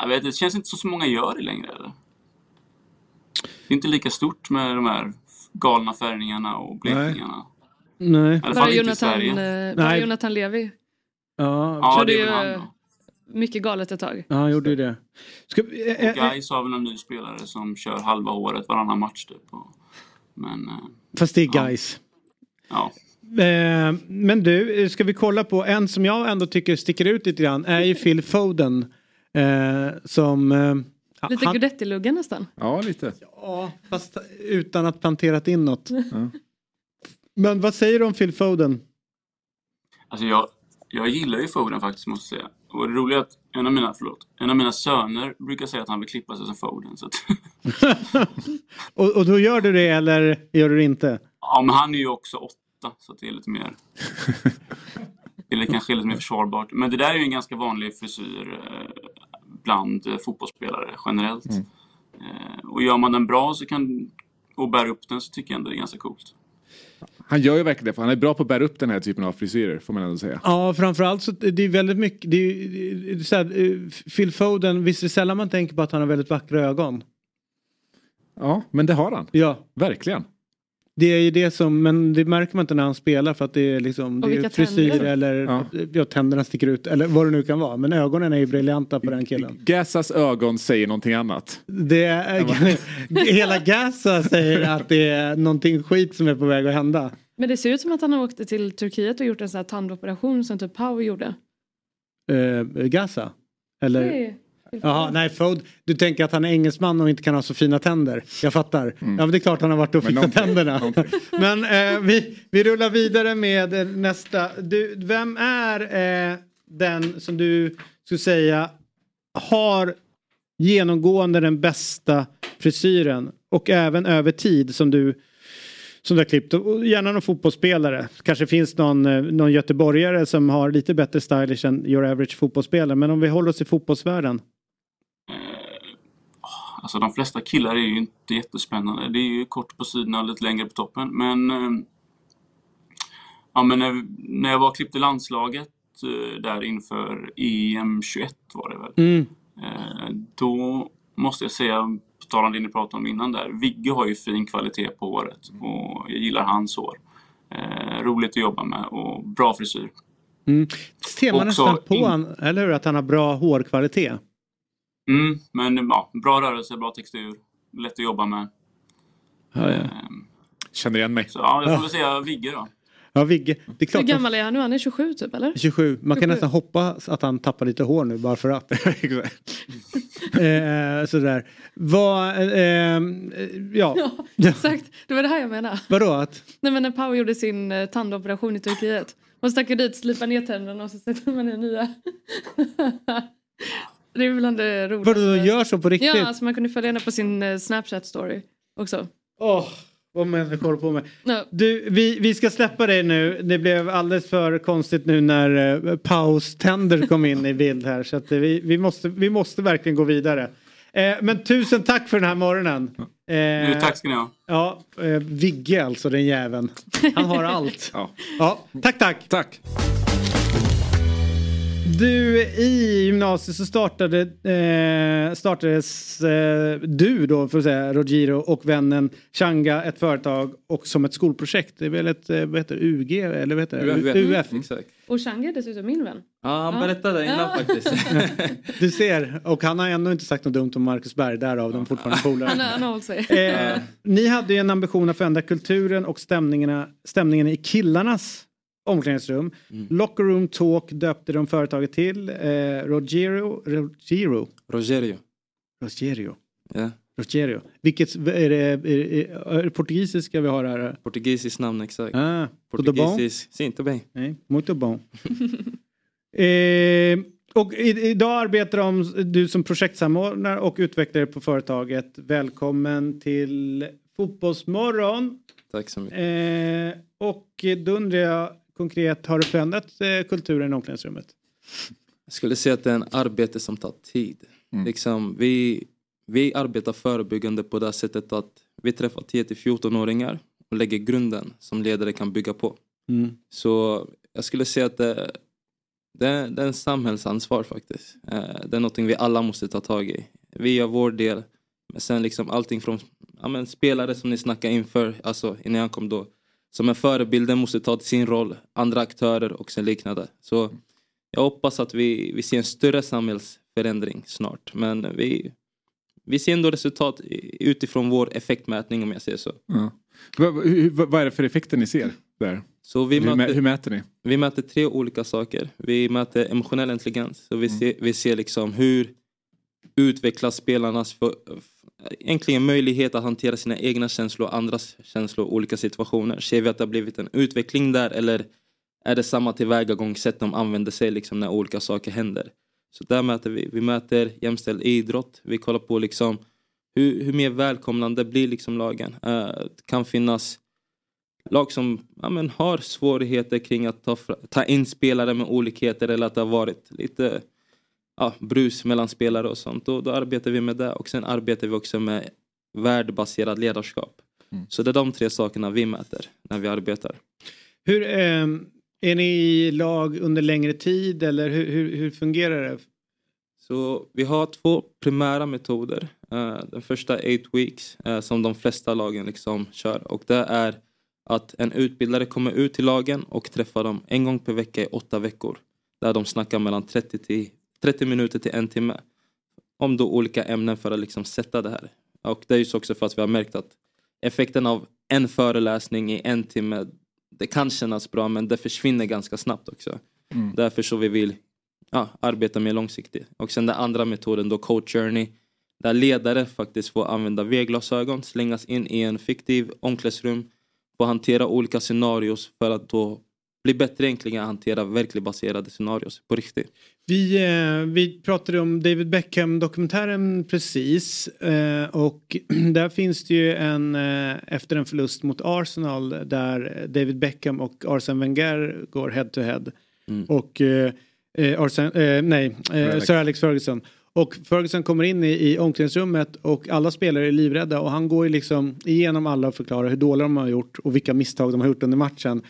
S10: Jag vet, det känns inte så, så många gör det längre, eller? Det är inte lika stort med de här galna färgningarna och blekningarna.
S1: Nej.
S3: Bara
S10: alla fall inte i
S3: Jonathan,
S10: Sverige.
S3: eh, bara
S10: Nej.
S3: Jonathan Levi.
S1: Ja,
S10: Ja,
S3: Körde
S10: det är
S3: ju
S10: väl han.
S3: eh, mycket galet ett tag.
S1: Ja, han gjorde ju det. Ska, vi- eh,
S10: Och
S1: eh,
S10: Gais har väl en ny spelare som kör halva året varannan match typ. Och, men eh,
S1: fast det är guys.
S10: ja.
S1: Eh, men du, eh, ska vi kolla på en som jag ändå tycker sticker ut lite grann är ju Phil Foden. Eh, som... Eh,
S3: Lite Guidetti-lugga nästan.
S2: Ja, lite.
S1: Ja, fast utan att planterat in något. Men vad säger du om Phil Foden?
S10: Alltså jag, jag gillar ju Foden faktiskt måste jag säga. Och det roliga är att en av mina, förlåt, en av mina söner brukar säga att han vill klippa sig som Foden. Så att,
S1: Och, och då gör du det eller gör du det inte?
S10: ja, men han är ju också åtta så att det är lite mer... Eller kanske lite mer försvarbart. Men det där är ju en ganska vanlig frisyr eh, bland eh, fotbollsspelare generellt.
S2: Mm.
S10: Eh, och gör man den bra så kan, och bär upp den så tycker jag ändå det är ganska coolt.
S2: Han gör ju verkligen det, för han är bra på att bära upp den här typen av frisyrer får man ändå säga.
S1: Ja, framförallt så det är väldigt mycket. Det är, det är så här, eh, Phil Foden, visst är det sällan man tänker på att han har väldigt vackra ögon?
S2: Ja, men det har han.
S1: Ja.
S2: Verkligen.
S1: Det är ju det som, men det märker man inte när han spelar för att det är liksom
S2: Och
S1: det är
S2: vilka
S1: frisyr
S2: tänder.
S1: eller ja.
S2: Ja.
S1: tänderna sticker ut eller vad det nu kan vara. Men ögonen är ju briljanta på den killen.
S2: Gassas ögon säger någonting annat.
S1: Det är, hela Gaza säger att det är någonting skit som är på väg att hända.
S3: Men det ser ut som att han åkte till Turkiet och gjort en sån här tandoperation som typ Pau
S10: Eh,
S3: gjorde.
S1: Uh, Gaza? Eller?
S3: Nej.
S1: Jaha, nej Food. Du tänker att han är engelsman och inte kan ha så fina tänder. Jag fattar. Ja men det är klart han har varit och
S2: Mm. Men
S1: fixat
S2: någonting-
S1: tänderna. Men eh, vi, vi rullar vidare med eh, nästa. Du, vem är eh, den som du skulle säga har genomgående den bästa frisyren och även över tid som du som du har klippt och och gärna någon fotbollsspelare. Kanske finns någon, eh, någon göteborgare som har lite bättre stylish än your average fotbollsspelare. Men om vi håller oss i fotbollsvärlden.
S10: Alltså de flesta killar är ju inte jättespännande. Det är ju kort på sidorna och lite längre på toppen. Men, eh, ja, men när, när jag var och klippte landslaget eh, där inför EM 21 var det väl.
S1: Mm.
S10: Eh, Då måste jag säga, på tal om det ni pratade om innan där, Vigge har ju fin kvalitet på håret och jag gillar hans hår. Eh, eh, roligt att jobba med och bra frisyr.
S1: Mm. Ser man
S10: Också
S1: nästan på
S10: in-
S1: han, eller hur? Att han har bra hårkvalitet.
S10: Mm, men ja, bra rörelse, bra textur, lätt att jobba med.
S2: Känner igen mig.
S10: Så, ja, jag får väl säga Vigge då.
S1: Ja, Vigge. Det är
S3: Hur
S1: klart,
S3: gammal är han nu? Han är 27 typ eller?
S1: 27. Man kan
S3: 27.
S1: nästan hoppas att han tappar lite hår nu bara för att. eh, sådär. Vad, ehm, eh, ja.
S3: Ja, exakt. Det var det här jag menade.
S1: Vadå att?
S3: Nej men när Pau gjorde sin eh, tandoperation i Turkiet. Man stack ju dit, slipade ner tänderna och så sätter man i nya. det är bland det roligaste.
S1: Vadå, de gör så på riktigt?
S3: Ja, alltså man kunde följa henne på sin eh, Snapchat-story också.
S1: Åh, vad människor håller på med.
S3: Ja.
S1: Du, vi, vi ska släppa dig nu. Det blev alldeles för konstigt nu när eh, Paus tänder kom in i bild här. Så att eh, vi, vi, måste, vi måste verkligen gå vidare. Eh, men tusen tack för den här morgonen. Eh,
S10: Du, tack ska ni ha.
S1: Ja, eh, Vigge alltså, den jäveln. Han har allt. ja. tack, tack.
S2: Tack.
S1: Du, i gymnasiet så startade, eh, startades eh, du då, för att säga, Rogiro och vännen Changa ett företag och som ett skolprojekt. Det är väl ett, eh, vad heter det, UG eller vad heter det?
S12: UF.
S1: UF.
S12: Mm, exakt.
S3: Och Chang är dessutom min vän.
S12: Ja, han berättade innan
S3: Ja.
S12: faktiskt.
S1: Du ser, och han har ändå inte sagt något dumt om Marcus Berg, därav de är fortfarande polare.
S3: Han, har- han har hållit sig.
S1: Eh, ni hade ju en ambition att förändra kulturen och stämningarna, stämningen i killarnas omklädningsrum. Locker Room Talk döpte de företaget till. Eh, Rogero, Rogero,
S12: Rogerio.
S1: Rogero,
S12: Ja.
S1: Rogero. Vilket är det, är, det- är det portugisiska vi har här?
S12: Portugisiskt namn exakt.
S1: Ah, tudo bom?
S12: Portugisiskt. Sim, tudo bem.
S1: Nej, muito bom. eh, och i, idag arbetar de, du som projektsamordnare och utvecklare på företaget. Välkommen till Fotbollsmorgon.
S12: Tack så mycket.
S1: Eh, och då undrar jag konkret, har du förändrat eh, kulturen i omklädningsrummet?
S12: Jag skulle säga att det är en arbete som tar tid. Liksom, vi, vi arbetar förebyggande på det här sättet att vi träffar 10-14-åringar och lägger grunden som ledare kan bygga på.
S13: Mm.
S12: Så jag skulle säga att det, det, det är en samhällsansvar faktiskt. Eh, Det är någonting vi alla måste ta tag i. Vi gör vår del. Men sen liksom allting från ja, men spelare som ni snackade inför, alltså innan jag kom då. Som är förebilden måste ta sin roll, andra aktörer och sen liknande. Så jag hoppas att vi, vi ser en större samhällsförändring snart. Men vi, vi ser ändå resultat i- utifrån vår effektmätning om jag säger så.
S2: Ja. Vad, hur- vad, vad är det för effekter ni ser där?
S12: Så vi
S2: hur, mä-
S12: möter-
S2: hur mäter ni?
S12: Vi mäter tre olika saker. Vi mäter emotionell intelligens. Så vi, ser, vi ser liksom hur utvecklas spelarnas för, egentligen möjlighet att hantera sina egna känslor och andras känslor i olika situationer. Ser vi att det har blivit en utveckling där eller är det samma tillvägagångssätt de använder sig liksom när olika saker händer? Så där mäter vi. Vi mäter jämställd idrott. Vi kollar på liksom hur, hur mer välkomnande blir liksom lagen. Eh, det kan finnas lag som ja, men, har svårigheter kring att ta, fra- ta in spelare med olikheter eller att det har varit lite ja, brus mellan spelare och sånt. Då, då arbetar vi med det och sen arbetar vi också med värdebaserat ledarskap. Så det är de tre sakerna vi mäter när vi arbetar.
S1: Hur, ehm, är ni i lag under längre tid eller hur, hur, hur fungerar det?
S12: Så vi har två primära metoder. Eh, den första är 8 weeks eh, som de flesta lagen liksom kör och det är att en utbildare kommer ut till lagen och träffar dem en gång per vecka i åtta veckor. Där de snackar mellan 30, till, 30 minuter till en timme om då olika ämnen för att liksom sätta det här. Och det är ju så också för att vi har märkt att effekten av en föreläsning i en timme det kan kännas bra men det försvinner ganska snabbt också.
S13: Mm.
S12: Därför så vi vill ja, arbeta mer långsiktigt. Och sen den andra metoden då, coach journey. Där ledare faktiskt får använda V-glasögon, slängas in i en fiktiv omklädningsrum. Får hantera olika scenarios för att då bli bättre egentligen att hantera verkligt baserade scenarios på riktigt.
S1: Vi, eh, vi pratade om David Beckham-dokumentären precis. Eh, och där finns det ju en, eh, efter en förlust mot Arsenal där David Beckham och Arsene Wenger går head to head. Och eh, eh, Arsene, eh, nej, eh,
S14: Alex.
S1: Sir Alex Ferguson. Och Ferguson kommer in i, i omklädningsrummet och alla spelare är livrädda och han går ju liksom igenom alla och förklarar hur dåliga de har gjort och vilka misstag de har gjort under matchen.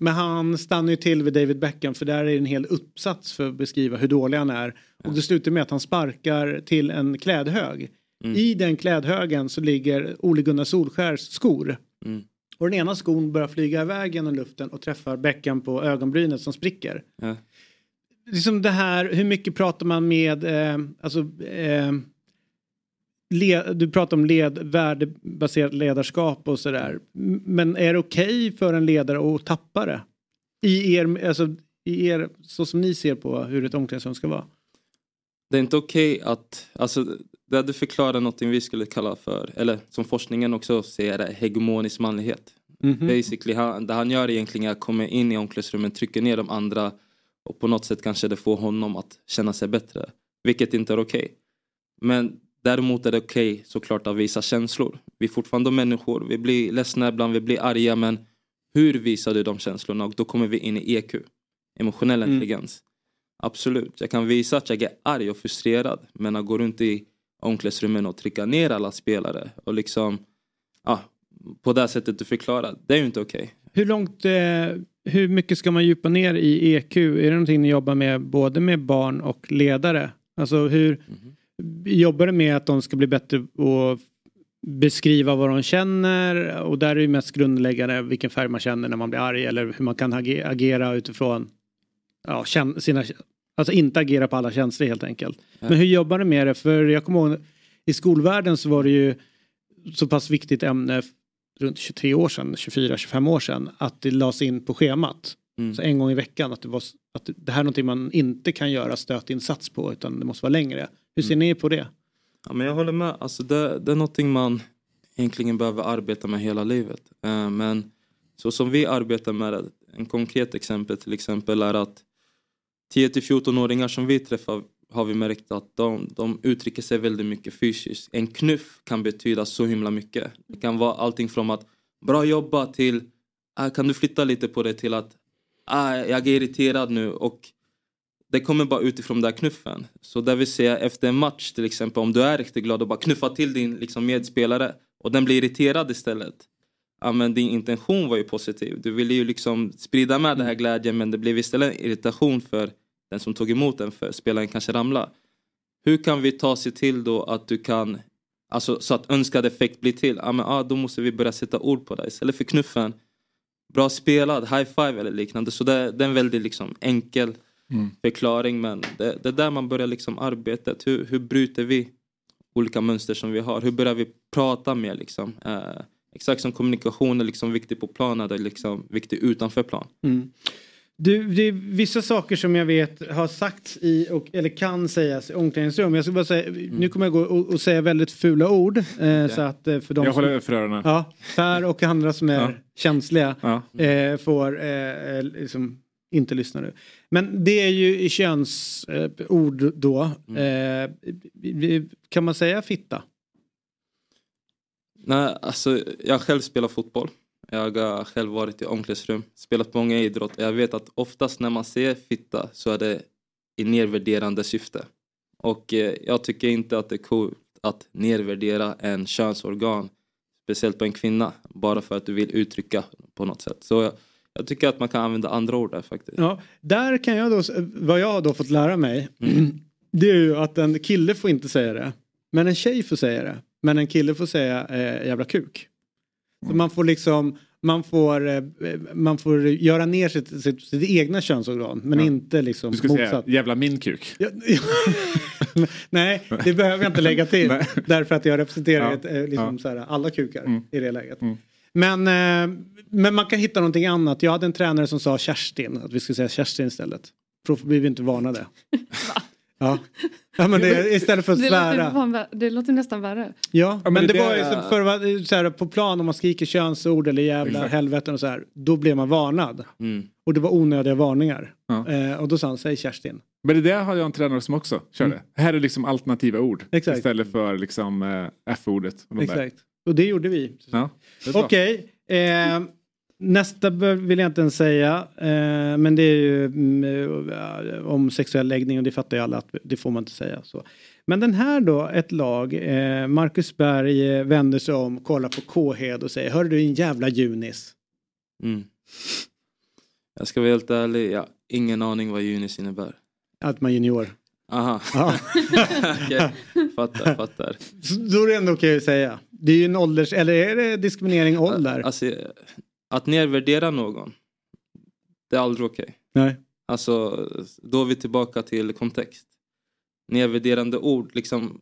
S1: Men han stannar ju till vid David Beckham för där är en hel uppsats för att beskriva hur dålig han är. Och det slutar med att han sparkar till en klädhög. I den klädhögen så ligger Ole Gunnar Solskjärs skor. Och den ena skon börjar flyga iväg genom luften och träffar bäcken på ögonbrynet som spricker.
S12: Ja.
S1: Liksom det här, hur mycket pratar man med, eh, alltså, eh, le, du pratar om led, värdebaserat ledarskap och sådär. M- Men är det okej för en ledare att tappa det? I er, alltså, i er, så som ni ser på hur ett omklädningsrum ska vara.
S12: Det är inte okej att... Alltså, det hade förklarat något vi skulle kalla för, eller som forskningen också säger, det, hegemonisk manlighet.
S1: Mhm.
S12: Basically, han, det han gör egentligen är att komma in i omklädningsrummet, trycker ner de andra och på något sätt kanske det får honom att känna sig bättre. Vilket inte är okej. Men däremot är det okej såklart att visa känslor. Vi är fortfarande människor, vi blir ledsna ibland, vi blir arga men hur visar du de känslorna? Och då kommer vi in i EQ, emotionell
S13: Mm.
S12: intelligens. Absolut, jag kan visa att jag är arg och frustrerad men jag går runt i omklädningsrummen och trycker ner alla spelare och liksom ja, på det här sättet du förklarar, det är ju inte okej.
S1: Hur långt, eh, hur mycket ska man djupa ner i EQ? Är det någonting ni jobbar med både med barn och ledare? Alltså hur jobbar du med att de ska bli bättre och beskriva vad de känner? Och där är ju mest grundläggande vilken färg man känner när man blir arg eller hur man kan age- agera utifrån ja, kän- sina, alltså inte agera på alla känslor helt enkelt.
S12: Ja.
S1: Men hur jobbar du med det? För jag kommer ihåg i skolvärlden så var det ju så pass viktigt ämne f- runt 23 år sedan, 24-25 år sedan, att det lades in på schemat.
S2: Mm.
S1: Så en gång i veckan, att det, var, s- att det här är någonting man inte kan göra stötinsats på utan det måste vara längre. Hur
S2: Mm.
S1: ser ni på det?
S12: Ja, men jag håller med. Alltså, det, det är någonting man egentligen behöver arbeta med hela livet. Eh, men så som vi arbetar med det, en konkret exempel till exempel är att 10-14-åringar som vi träffar har vi märkt att de, de uttrycker sig väldigt mycket fysiskt. En knuff kan betyda så himla mycket. Det kan vara allting från att bra jobbat till ah, kan du flytta lite på det till att ah, jag är irriterad nu och det kommer bara utifrån den där knuffen. Så där vill säga efter en match till exempel om du är riktigt glad och bara knuffa till din liksom, medspelare och den blir irriterad istället. Ja, men din intention var ju positiv. Du ville ju liksom sprida med den här glädjen men det blev istället en irritation för den som tog emot den för spelaren kanske ramla. Hur kan vi ta sig till då att du kan Alltså så att önskad effekt blir till. Ja, men, ah, då måste vi börja sätta ord på det. Istället för knuffen. Bra spelad, high five eller liknande. Så det, det är en väldigt liksom, enkel
S2: Mm.
S12: förklaring. Men det, det är där man börjar liksom arbetet. Hur, hur bryter vi olika mönster som vi har? Hur börjar vi prata mer liksom? Eh, exakt som kommunikation är liksom viktig på planen. Det är liksom viktigt utanför plan.
S1: Mm. Du, det är vissa saker som jag vet har sagts i, och, eller kan sägas i omklädningsrum. Jag ska bara säga,
S2: Mm.
S1: Nu kommer jag gå och, och säga väldigt fula ord. Eh, så att, eh, för de
S2: Jag
S1: som-
S2: håller för öronen.
S1: Ja, Per och andra som är
S2: Ja.
S1: känsliga
S2: Ja.
S1: eh, får eh, liksom inte lyssna nu. Men det är ju i könsord eh, ord då.
S2: Mm.
S1: Eh, vi- vi- kan man säga fitta?
S12: Nej, alltså, jag själv spelar fotboll. Jag har själv varit i omklädningsrum, spelat många idrotter. Jag vet att oftast när man säger fitta så är det i nedvärderande syfte. Och eh, jag tycker inte att det är coolt att nedvärdera en könsorgan, speciellt på en kvinna, bara för att du vill uttrycka på något sätt. Så jag, jag tycker att man kan använda andra ord där faktiskt.
S1: Ja, där kan jag då, vad jag har då fått lära mig,
S2: Mm.
S1: det är ju att en kille får inte säga det. Men en tjej får säga det. Men en kille får säga eh, jävla kuk. Så
S2: Mm.
S1: man får liksom, man får, eh, man får göra ner sitt, sitt, sitt egna könsorgan men
S2: Ja.
S1: inte liksom
S2: Du skulle säga
S1: motsatt.
S2: jävla min kuk.
S1: Nej, det behöver jag inte lägga till.
S2: Nej.
S1: därför att jag representerar
S2: Ja,
S1: ett, eh, liksom
S2: ja.
S1: så här, alla kukar
S2: Mm.
S1: i det läget. Men, eh, men man kan hitta någonting annat. Jag hade en tränare som sa Kerstin, att vi skulle säga Kerstin istället. För då blir vi inte varnade. ja. ja, men det, istället för att
S3: det låter, ju
S1: svära.
S3: fan vä- det låter nästan värre.
S1: Ja, men,
S3: men
S1: det,
S3: det
S1: var ju
S3: där-
S1: så- förr var det så här, på plan om man skriker könsord eller jävla
S2: Exakt. Mm.
S1: helveten och så här. Då blev man varnad. Och det var onödiga varningar. Eh, och då sa han, säg Kerstin.
S2: Men det där har jag en tränare som också körde.
S1: Mm.
S2: Här är liksom alternativa ord
S1: Exakt.
S2: istället för liksom eh, F-ordet. och de där.
S1: Exakt. Och det gjorde vi.
S2: Ja, det är bra.
S1: Okej. Eh, nästa bör- vill jag inte ens säga. Eh, men det är ju mm, eh, om sexuell läggning och det fattar ju alla att det får man inte säga. Så. Men den här då, ett lag. Eh, Marcus Berg eh, vänder sig om, kollar på Kåhed och säger Hör du din jävla Junis.
S12: Mm. Jag ska vara helt ärlig, jag har ingen aning vad Junis innebär.
S1: Att man är junior.
S12: Aha.
S1: Ja.
S12: Okej, Fattar, fattar.
S1: Så Då är det ändå okej att säga. Det är ju en ålders... Eller är det diskriminering i ålder?
S12: Alltså, att nedvärdera någon, det är aldrig okej.
S1: Nej.
S12: Alltså, då är vi tillbaka till kontext. Nedvärderande ord, liksom.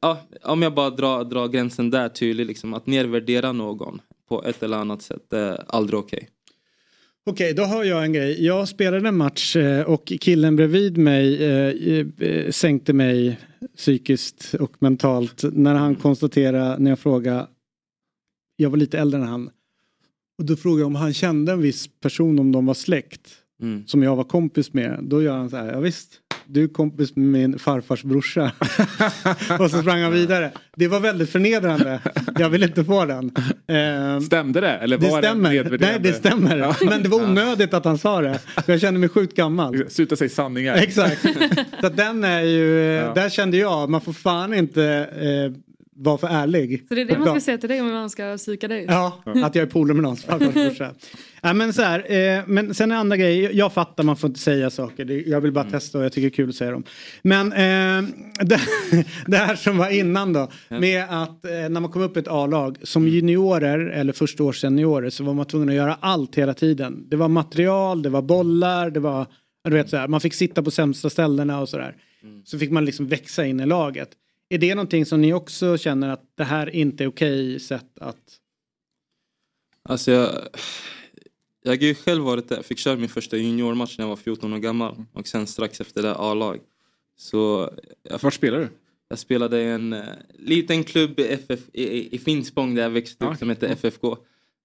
S12: Ja, om jag bara drar, drar gränsen där tydligt, liksom, att nedvärdera någon på ett eller annat sätt, det är aldrig okej.
S1: Okej, då har jag en grej. Jag spelade en match eh, och killen bredvid mig eh, eh, sänkte mig psykiskt och mentalt när han konstaterade när jag frågade. Jag var lite äldre än han. Och då frågade jag om han kände en viss person om de var släkt. Som jag var kompis med. Då gör han så här, ja visst. Du är kompis med min farfars brorsa. och så sprang han vidare. Det var väldigt förnedrande. Jag vill inte få den. Eh,
S2: Stämde det? Eller
S1: det
S2: var det
S1: stämmer. Nej,
S2: nedvärderande?
S1: det stämmer.
S2: Ja.
S1: Men det var onödigt att han sa det. För jag kände mig sjukt gammal.
S2: Sluta säga sanningar.
S1: Exakt. Så att den är ju, eh,
S2: Ja.
S1: där kände jag, man får fan inte eh, vara för ärlig.
S3: Så det är det man ska
S1: Ja.
S3: säga till dig om man ska psyka dig.
S1: Ja, att jag är polare med någons farfars brorsa. Ja, men, så här, eh, men sen en annan grej, jag fattar man får inte säga saker. Det- Jag vill bara testa och jag tycker det är kul att säga dem. Men eh, det, det här som var innan då. Med att eh, när man kom upp i ett A-lag som juniorer eller förstaårsseniorer så var man tvungen att göra allt hela tiden. Det var material, det var bollar, det var du vet, så här, man fick sitta på sämsta ställena och sådär. Så fick man liksom växa in i laget. Är det någonting som ni också känner att det här inte är okej sätt att
S12: Alltså jag, jag har ju själv varit där. Fick köra min första juniormatch när jag var 14 år gammal och sen strax efter det A-lag. Så jag,
S2: Vart spelar du?
S12: Jag spelade i en eh, liten klubb i, FF, i, i, i Finspång där jag växte upp som heter FFK.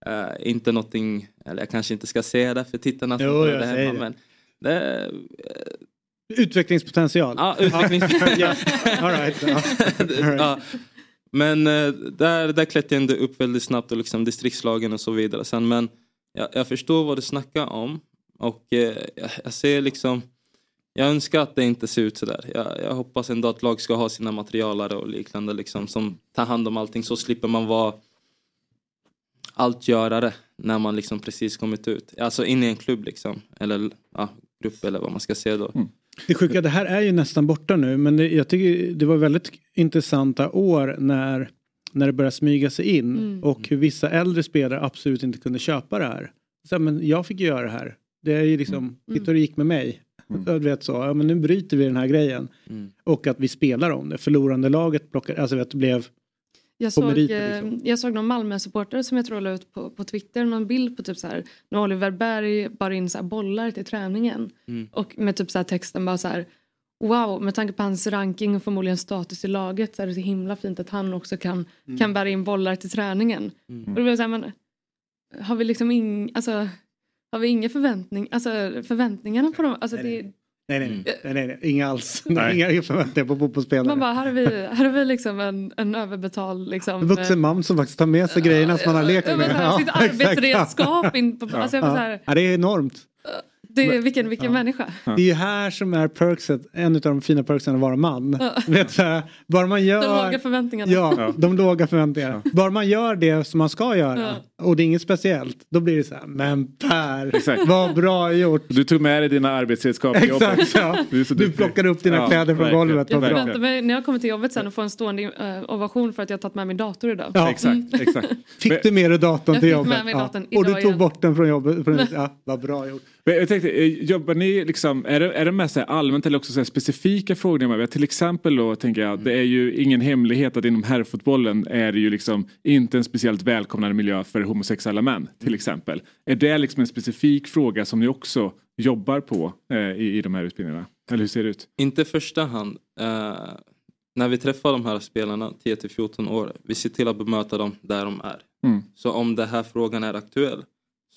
S12: Eh, inte någonting, eller jag kanske inte ska säga det för tittarna som
S1: Jo,
S12: hör
S1: jag
S12: det
S1: säger
S12: hemma.
S1: det.
S12: Men det,
S1: Utvecklingspotential.
S12: Ja, utvecklings-
S1: Ja, All right. ja.
S12: ja. Men eh, där, där klättrade jag ändå upp väldigt snabbt och liksom distriktslagen och så vidare. Sen, men jag, jag förstår vad du snackar om och eh, jag, jag ser liksom jag önskar att det inte ser ut sådär. Jag, jag hoppas ändå att lag ska ha sina materialare och liknande liksom som tar hand om allting så slipper man vara alltgörare när man liksom precis kommit ut. Alltså in i en klubb liksom eller ja, grupp eller vad man ska säga då.
S1: Det sjuka, det här är ju nästan borta nu men det, jag tycker det var väldigt intressanta år när, när det började smyga sig in
S13: Mm.
S1: och hur vissa äldre spelare absolut inte kunde köpa det här. Så, här, men jag fick ju göra det här. Det är ju liksom, titta hur det gick med mig. Du vet så, ja men nu bryter vi den här grejen. Och att vi spelar om det. Förlorande laget plockar, alltså vet, det blev
S3: Jag
S1: på
S3: såg,
S1: meriter, liksom.
S3: eh, jag såg någon Malmö-supporter som jag tror la ut på, på Twitter någon bild på typ så här när Oliver Berg bar in så här bollar till träningen
S1: Mm.
S3: och med typ så här texten bara så här wow med tanke på hans ranking och förmodligen status i laget så är det så himla fint att han också kan,
S5: Mm.
S3: kan bära in bollar till träningen.
S5: Mm.
S3: Och då blir jag så här, men har vi liksom ing, alltså, har vi inga förväntning, alltså förväntningarna på dem, alltså det,
S1: Nej nej nej, nej, nej, nej. inga alls. Inga förväntningar på fotbollsspelare.
S3: man bara här har vi, här har vi liksom en, en överbetald liksom
S1: En vuxen man som faktiskt tar med sig grejerna som man har lekt
S3: Ja,
S1: med.
S3: men så här, sitt
S1: exakt.
S3: arbetsredskap in på- alltså jag
S1: ja.
S3: var så här-
S1: ja, det är enormt.
S3: Det är, vilken vilken människa.
S1: Det är ju här som är perkset, en av de fina perksen att vara man.
S3: Ja.
S1: Vet du, här, bara man gör...
S3: De låga förväntningarna.
S1: Ja, de låga förväntningarna. Bara man gör det som man ska göra och det är inget speciellt, då blir det så här, men Per,
S2: Exakt.
S1: vad bra gjort.
S2: Du tog med dig dina arbetsredskap till
S1: Exakt,
S2: jobbet.
S1: ja.
S2: Du, är så
S1: Du
S2: duktig.
S1: plockade upp dina kläder från
S2: verkligen,
S1: golvet,
S3: Jag
S1: vad
S2: verkligen.
S3: förväntar mig när jag kommer till jobbet sen att få en stående eh, ovation för att jag har tagit med mig dator idag.
S1: Ja.
S3: Mm.
S2: exakt.
S1: Fick du med dig datorn
S3: Jag
S1: till
S3: fick med
S1: jobbet?
S3: mig datorn
S1: ja. Och du
S3: idag
S1: tog
S3: igen.
S1: bort den från jobbet? Från, ja, vad bra gjort.
S2: Men jag tänkte, eh, jobbar ni liksom, är det, är det mest så här allmänt eller också så här specifika frågor? ni har med? Till exempel då tänker jag, det är ju ingen hemlighet att inom herrfotbollen är det ju liksom inte en speciellt välkomnande miljö för homosexuella män till exempel. Är det liksom en specifik fråga som ni också jobbar på eh, i, i de här utbildningarna? Eller hur ser det ut?
S12: Inte i första hand. Eh, när vi träffar de här spelarna, 10 till 14 år, vi ser till att bemöta dem där de är.
S2: Mm.
S12: Så om den här frågan är aktuell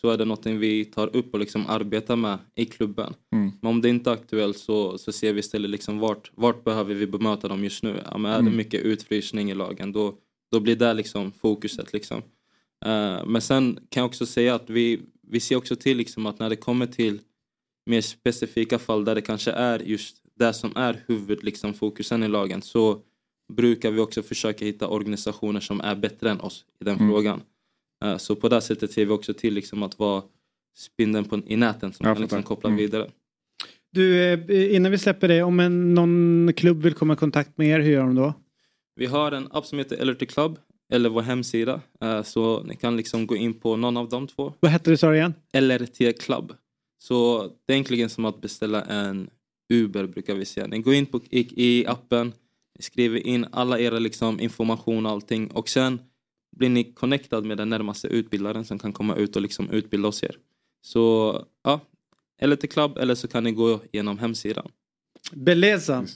S12: så är det någonting vi tar upp och liksom arbetar med i klubben.
S2: Mm.
S12: Men om det inte är aktuellt så, så ser vi istället liksom vart, vart behöver vi bemöta dem just nu. Ja, men är
S2: Mm.
S12: det mycket utfrysning i lagen då, då blir det liksom fokuset. Liksom. Eh, men sen kan jag också säga att vi, vi ser också till liksom att när det kommer till mer specifika fall där det kanske är just det som är huvud, liksom, fokusen i lagen så brukar vi också försöka hitta organisationer som är bättre än oss i den
S2: Mm.
S12: frågan. Eh, Så på det här sättet ser vi också till liksom att vara spindeln på, i näten som
S1: Jag
S12: kan liksom
S1: fattar.
S12: koppla
S1: Mm.
S12: vidare.
S1: Du, eh, innan vi släpper dig, om en, någon klubb vill komma i kontakt med er, hur gör de då?
S12: Vi har en app som heter Alerty Club eller vår hemsida. Eh, Så ni kan liksom gå in på någon av de två.
S1: Vad hette det sa du igen?
S12: LRT Club. Så det är egentligen som att beställa en Uber brukar vi säga. Ni går in på, i, i appen, ni skriver in alla era liksom, information och allting och sen blir ni connectad med den närmaste utbildaren som kan komma ut och liksom utbilda oss er. Så ja, LRT Club eller så kan ni gå genom hemsidan.
S1: Beleza.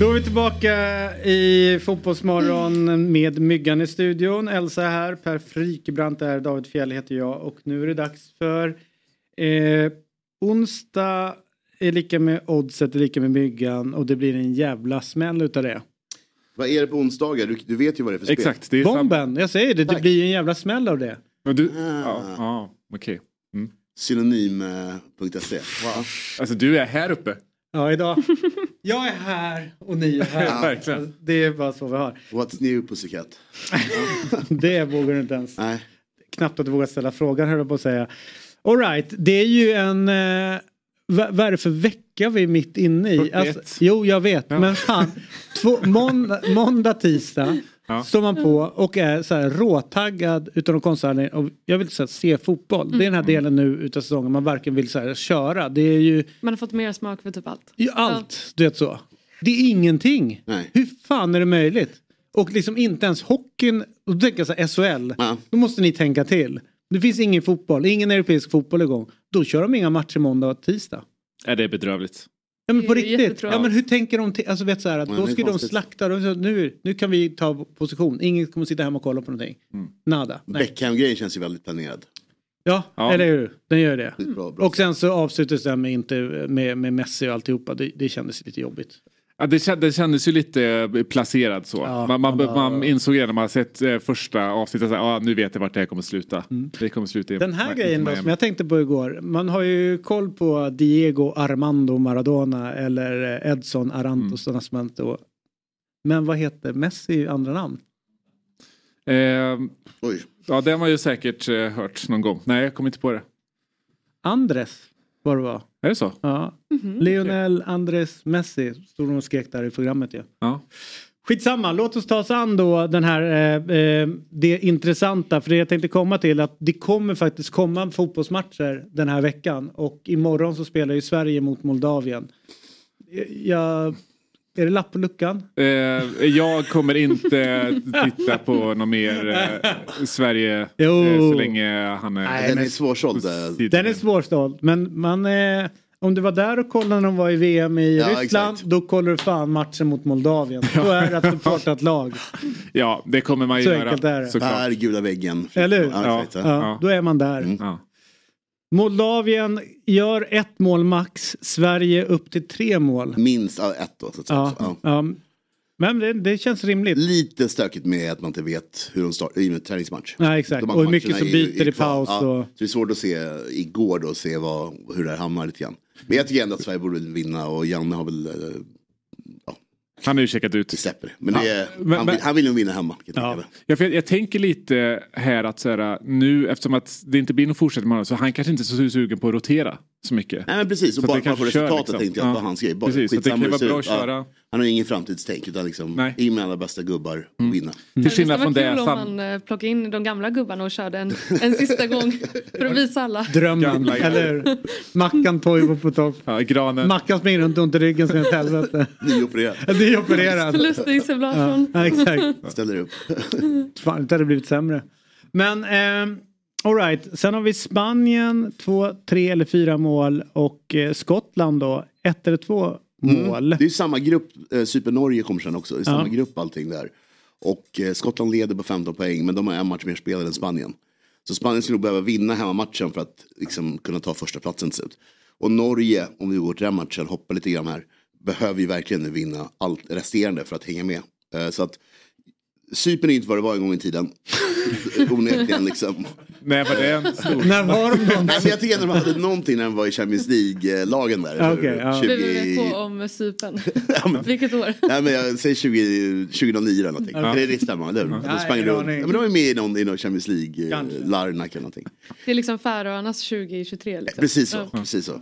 S1: Då är vi tillbaka i Fotbollsmorgon med Myggan i studion. Elsa är här, Per Frikebrant är David Fjell heter jag och nu är det dags för eh, onsdag är lika med oddset är lika med Myggan och det blir en jävla smäll utav det.
S14: Vad är det på onsdagar? Du, du vet ju vad det är för spel.
S2: Exakt, det är sam-
S1: Bomben, jag säger det, det
S14: Tack.
S1: blir ju en jävla smäll av det.
S2: Men du, ja, ja, okej. Mm.
S14: eh, Synonym.se.
S2: Alltså du är här uppe.
S1: Ja, idag. Jag är här och ni är här.
S14: Verkligen.
S1: Det är bara så vi har.
S14: What's new pussycat?
S1: Det vågar du inte ens.
S14: Nej.
S1: Knappt att du vågar ställa frågan höll jag på att säga. All right, det är ju en... Eh, va- vad är det för vecka vi är mitt inne i? Alltså,
S2: 41.
S1: jo, jag vet. Men fan, två, måndag, måndag, tisdag står man på och är så här råtaggad utav de konstiga anledningarna. Och Jag vill så här, se fotboll. Det är den här delen nu utav säsongen man varken vill så här, köra. Det är ju
S3: Man har fått mer smak för typ allt.
S1: i allt, du vet så. Det är ingenting. Hur fan är det möjligt? Och liksom inte ens hockeyn, och då tänker jag så här, SHL, då måste ni tänka till. Det finns ingen fotboll, ingen europeisk fotboll igång. Då kör de inga matcher måndag och tisdag.
S15: Ja, det är bedrövligt.
S1: Ja men på
S15: Det är ju
S1: riktigt,
S15: jättetråkigt.
S1: ja, men hur tänker de? till- Alltså vet så här att
S15: Men
S1: då
S15: det är
S1: ska de
S15: konstigt.
S1: slakta, de, så nu, nu kan vi ta position, ingen kommer sitta hemma och kolla på någonting. Nada. Nej.
S14: Beckham-grejen känns ju väldigt planerad.
S1: Ja,
S14: Ja.
S1: eller hur? Den gör det.
S12: Mm.
S14: Bra, bra.
S1: Och sen så avslutas den med, inte, med, med Messi och alltihopa, det, det kändes lite jobbigt.
S2: Ja, det, kändes, det kändes ju lite eh, placerad så. man, man,
S1: man bara-
S2: man insåg redan när man sett eh, första avsnittet att ah, nu vet jag vart det här kommer sluta. Det kommer sluta i-
S1: Mm. Den här
S2: i-
S1: grejen då,
S2: Miami.
S1: som jag tänkte på igår. Man har ju koll på Diego Armando Maradona eller eh, Edson Arantos mm. som man inte... och- Men vad heter Messi i andra namn?
S2: Ehm, Ja, den har man ju säkert eh, hört någon gång. Nej, jag kommer inte på det.
S1: Andres var det var.
S2: Är det så?
S1: Ja. Lionel Andres Messi stod de och skrek där i programmet ju.
S2: Ja.
S1: Skitsamma, låt oss ta oss an då den här, eh, eh, det intressanta. För det jag tänkte komma till att det kommer faktiskt komma fotbollsmatcher den här veckan. Och imorgon så spelar ju Sverige mot Moldavien. Jag, är det lapp på luckan?
S2: Eh, jag kommer inte titta på någon mer eh, Sverige eh,
S1: Jo.
S2: så länge han är...
S1: Nej, Den men- är
S14: svårsåld. eh.
S1: Den är svårsåld. Men man, eh, om du var där och kollade när de var i VM i
S2: Ja,
S1: Ryssland. Då kollar du fan matchen mot Moldavien. Då är det att supporta ett lag.
S2: Ja, det kommer man ju
S1: Så enkelt är
S2: göra
S1: det.
S2: såklart.
S1: Där,
S14: gula väggen.
S1: Eller hur?
S14: Ja, exakt, ja. Mm.
S1: Ja, då är man där. Moldavien gör ett mål max. Sverige upp till tre mål.
S14: Minst Mm. ja, ett då. Så att säga.
S1: Ja, Men det, känns rimligt.
S14: Lite stökigt med att man inte vet hur de startar i och med träningsmatch.
S1: Nej, exakt.
S14: De här
S1: Och
S14: matcherna
S1: hur mycket som
S14: är-
S1: byter
S14: är
S1: i
S14: kvar.
S1: paus och-
S14: Så det är svårt att se igår då, se vad, hur det här hamnar lite grann. Men jag tycker ändå att Sverige borde vinna och Janne har väl... eh,
S2: Han har ju checkat ut.
S14: Det släpper det. Men, det är,
S2: men-
S14: han, vill,
S2: men-
S14: han vill nog vinna hemma. kan jag tänka mig.
S2: Ja, för jag, jag tänker lite här att så här, nu eftersom att det inte blir någon fortsättning med honom, så han kanske inte är så sugen på att rotera så mycket.
S14: Nej men precis, och
S2: Så
S14: bara
S2: att det
S14: man får
S2: kanske kör,
S14: resultatet
S2: liksom.
S14: tänkte jag
S2: Ja.
S14: på hans grej. Bara,
S2: Precis, så att det
S14: skitsamma
S2: kan
S14: hur
S2: vara bra
S14: ser
S2: att
S14: ut.
S2: köra.
S14: Ja. Han har ju ingen framtidstänk utan liksom, in med alla bästa gubbar
S2: Mm.
S14: och vinna.
S3: Till skillnad från Mm. det. Kul om man eh, plockade in de gamla gubbarna och körde en, en sista gång för att visa alla.
S1: Drömmen, eller hur? Mackan Toivo på topp.
S2: Ja, granen.
S1: Mackan springer runt och ont i ryggen som ett helvete.
S14: Nyopererad.
S1: Nyopererad.
S3: Lustig Larsson.
S1: Ja, exakt.
S14: Ställer upp.
S1: Fan, det hade blivit sämre. Men eh, alright, sen har vi Spanien, två, tre eller fyra mål och eh, Skottland då, ett eller två mål.
S14: Mm. Det är ju samma grupp, eh, Cypern-Norge kommer sen också. Det är samma
S1: Ja.
S14: grupp allting där. Och eh, Skottland leder på 15 poäng men de har en match mer spelare än Spanien. Så Spanien skulle nog behöva vinna hemmamatchen för att liksom, kunna ta första platsen till slut. Och Norge, om vi går till den matchen, hoppar lite grann här, behöver ju verkligen nu vinna allt resterande för att hänga med. Eh, så att Cypern är inte vad det var en gång i tiden. Onekligen liksom.
S2: När var det en stor...
S1: När var de någonsin?
S14: Nej, men jag tycker ändå de hade någonting när de var i Champions League-lagen där. Typ,
S1: Okej, ja.
S3: WWK om Cypern. Vilket år?
S14: Nej men jag säger 20, 2009 eller någonting.
S3: Ja.
S14: Det är det stämmer, eller hur?
S3: Ja.
S14: De sprang
S3: Nej,
S14: runt.
S3: aning.
S14: Ja, men de är med i någon, i någon Champions
S3: Kanske.
S14: League, eh, Larnaca eller någonting.
S3: Det är liksom Färöarnas 2023. Liksom.
S14: Precis så.
S3: Ja.
S14: Precis så.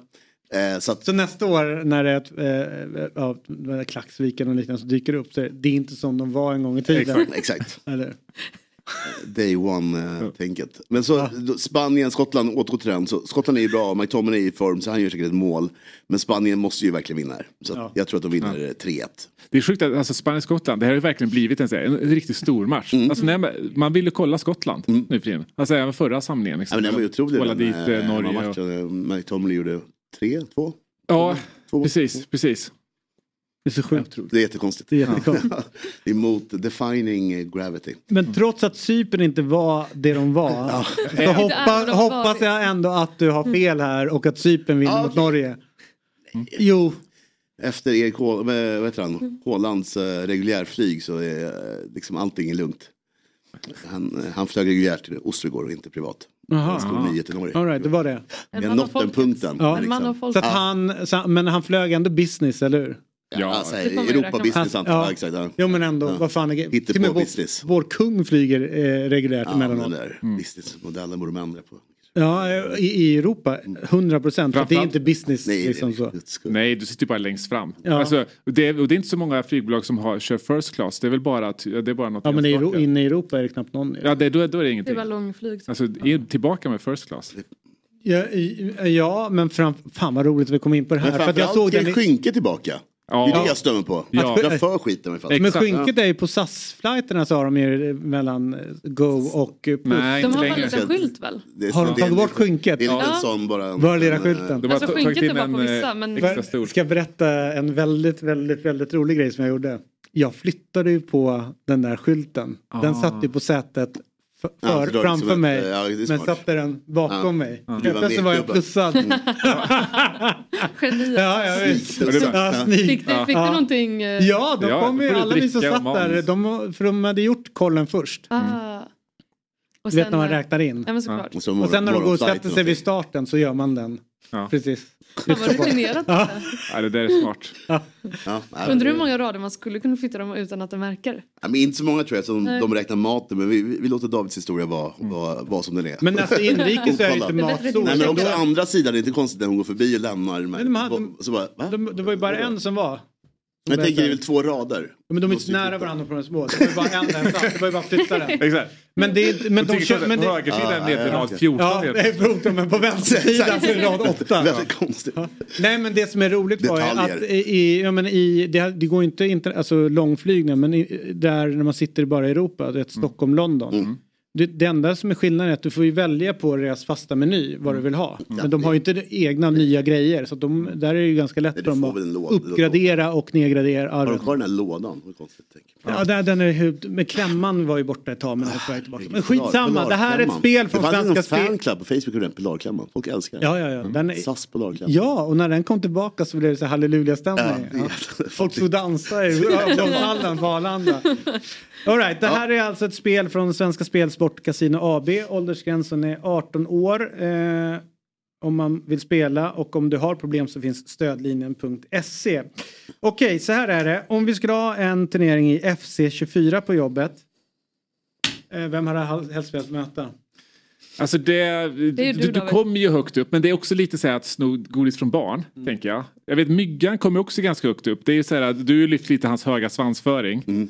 S14: Eh, så att,
S1: Så nästa år när det är ett, eh, av de där Klacksviken och liknande som dyker upp så är det inte som de var en gång i tiden.
S14: Exakt, exakt.
S1: Eller?
S14: day one-tänket. eh, Men så då, Spanien, Skottland, återgå till den. Så Skottland är ju bra, McTominay är i form så han gör säkert ett mål. Men Spanien måste ju verkligen vinna här. Så att,
S2: Ja.
S14: jag tror att de vinner eh, 3-1.
S2: Det är sjukt att alltså, Spanien-Skottland, det här har ju verkligen blivit en, så här, en riktigt stor match.
S14: Mm.
S2: Alltså, när man, man vill ju kolla Skottland nu för tiden. Alltså även förra samlingen.
S14: Ja, men den var ju otrolig
S2: Kolla
S14: den
S2: dit
S14: eh,
S2: eh, Norge. Och...
S14: matchen. McTominay gjorde 3-2.
S2: Ja, precis, precis.
S1: Det är så sjukt.
S14: Det är jättekonstigt.
S1: Det är jättekonstigt.
S14: Emot defining gravity.
S1: Men trots att Cypern inte var det de var så hoppa, hoppas jag ändå att du har fel här och att Cypern vinner mot Norge.
S14: Mm.
S1: Jo.
S14: Efter Erik Hå- eh, vad heter han? Hålands eh, reguljärflyg så är eh, liksom allting lugnt. Han, eh, han flög reguljärt till Oslo igår och inte privat. Han stod nio till Norge.
S1: All right, det var det.
S14: Vi har nått den punkten.
S1: Ja.
S14: när liksom-
S1: Så att han, så, men han flög ändå business, eller hur?
S14: Ja, alltså,
S1: Det får man ju räkna med.
S14: Europa-business antar jag.
S1: Ja.
S14: exakt, Ja.
S1: Jo men ändå,
S14: Ja.
S1: vad fan är grejen?
S14: Hitta
S1: Till och med
S14: på
S1: vår,
S14: business.
S1: vår kung flyger eh, reguljärt
S14: Ja, men den
S1: emellanåt.
S14: där
S2: Mm.
S14: businessmodellen borde man ändra på.
S1: Ja, i, i Europa, 100 procent. Det är inte business liksom så.
S2: Nej, du sitter ju bara längst fram.
S1: Ja.
S2: Alltså, och, det, är- och det är inte så många flygbolag som har, kör first class. Det är väl bara, att- det är bara något
S1: Ja men i, Euro-
S2: enstaka.
S1: inne i Europa är det knappt någon.
S2: Ja, det, då, är- då är det
S3: Det
S2: ingenting.
S3: var långflyg.
S2: Alltså, är tillbaka med first class.
S1: Ja, i- ja men fram, fan vad roligt att vi kom in på det här.
S14: Men
S1: För att jag såg
S14: framförallt
S1: den
S14: är
S1: i,
S14: skynke tillbaka. Det är
S1: Ja.
S14: det jag stör mig på.
S1: Ja.
S14: Jag för skiten mig fast.
S1: men skynket är ju på SAS-flighterna så har de ju eh, mellan eh, Go och eh, Puss.
S3: de har väl en liten skylt väl?
S14: Det är-
S1: Har de
S14: det är-
S1: tagit bort skynket?
S14: Det är en liten
S3: Ja.
S14: sån bara.
S1: Var är lilla skylten?
S3: De har Alltså, ta- skynket tagit in är bara på en, eh, vissa, men- extra
S1: Jag ska berätta en väldigt, väldigt, väldigt rolig grej som jag gjorde. Jag flyttade ju på den där skylten. Den
S14: Ah.
S1: satt ju på sätet f-
S14: Ja, så
S1: för,
S14: då är det
S1: framför
S14: som ett,
S1: mig.
S14: eh, ja, det är
S1: men
S14: smart.
S1: satte den bakom
S14: Ja.
S1: mig.
S14: Ja. Du
S1: Helt
S14: var
S1: plötsligt var jag
S14: medgubbe.
S1: plussad.
S14: Mm.
S3: Geniet.
S1: Ja, ja, visst.
S14: Och det är bara-
S1: Ja, sneak.
S3: Fick du, fick du
S1: Ja.
S3: någonting? eh,
S1: Ja, de
S2: Ja,
S1: kom ju,
S2: får du
S1: alla vi som
S2: dricka
S1: satt där,
S2: mans.
S1: de, för de hade gjort kollen först.
S3: Ah. Och
S1: Mm. Du vet
S3: sen,
S1: när man
S3: eh,
S1: räknar in.
S3: Ja, men såklart.
S1: Och sen när de går och sätter sig vid starten så gör man den.
S2: Ja.
S1: Precis.
S3: Fan vad rutinerat.
S2: Ja, det där är smart.
S14: Ja, nej,
S3: Undrar hur
S14: det-
S3: många rader man skulle kunna flytta dem utan att de märker.
S14: Ja, men inte så många tror jag som
S3: Nej.
S14: de räknar maten men vi, vi vi låter Davids historia vara vara vara som den är.
S1: Men alltså, inrikes är det ju inte
S14: Opåkallad.
S1: matsår.
S14: Nej men också
S1: Då-
S14: andra sidan, det är inte konstigt när hon går förbi och lämnar. de här-
S1: Men de hade-
S14: så bara, va?
S1: De, det var ju bara en som var.
S14: Men jag tänker det är väl två rader.
S1: Men de är inte så nära varandra på de små. Det var ju bara en där satt. Det var ju bara att flytta den.
S2: Exakt.
S1: Men det är... Men
S2: De
S1: de
S2: tycker
S1: kör...
S2: att
S1: Men det,
S2: högersidan
S1: Ja,
S2: heter
S1: ja,
S2: rad
S1: okej.
S2: 14
S1: Ja,
S2: heter
S1: det är punkten, men på vänstersidan så är det rad 8.
S14: Väldigt konstigt.
S1: Nej men det som är roligt var ju
S14: Detaljer.
S1: att i, i, ja, men i, det, det går ju inte inter, alltså, långflygningar men i, där när man sitter bara i Europa, det är ett
S14: Mm.
S1: Stockholm, London. Det, det enda som är skillnaden är att du får ju välja på deras fasta meny vad du
S14: Mm.
S1: vill ha. Men de har ju inte de- egna nya grejer så att de, där är det ju ganska lätt för dem
S14: får väl en
S1: att
S14: låda.
S1: uppgradera och nedgradera
S14: Har de
S1: arven.
S14: kvar den här lådan? Vad konstigt. tänk.
S1: Ja, där, den är, hu- men klämman var ju borta ett tag men den är på väg tillbaka. Men skitsamma, det här är ett
S14: Polarklämman.
S1: spel från
S14: Det fanns
S1: Svenska
S14: en
S1: Spel.
S14: fanclub på Facebook om den Polarklämman. Folk älskar den. Mm.
S1: Ja, ja, ja. Den är-
S14: SAS Polarklämman.
S1: Ja, och när den kom tillbaka så blev det så här halleluja-stämning.
S14: Ja,
S1: Folk stod och dansade i hallen på Arlanda. All right, det här är alltså ett spel från Svenska Spel Sport Casino AB. Åldersgränsen är 18 år. Eh, om man vill spela och om du har problem så finns stödlinjen.se. E. Okej, så här är det. Om vi skulle ha en turnering i FC24 på jobbet. Eh, vem hade hel- helst velat möta?
S2: Alltså det,
S1: är ju
S2: du,
S1: du,
S2: du,
S1: David.
S2: kommer ju högt upp men det är också lite så här att sno godis från barn.
S14: Mm.
S2: Tänker jag. jag vet Myggan kommer också ganska högt upp. Det är ju så här att du har lyft lite hans höga svansföring.
S14: Mm.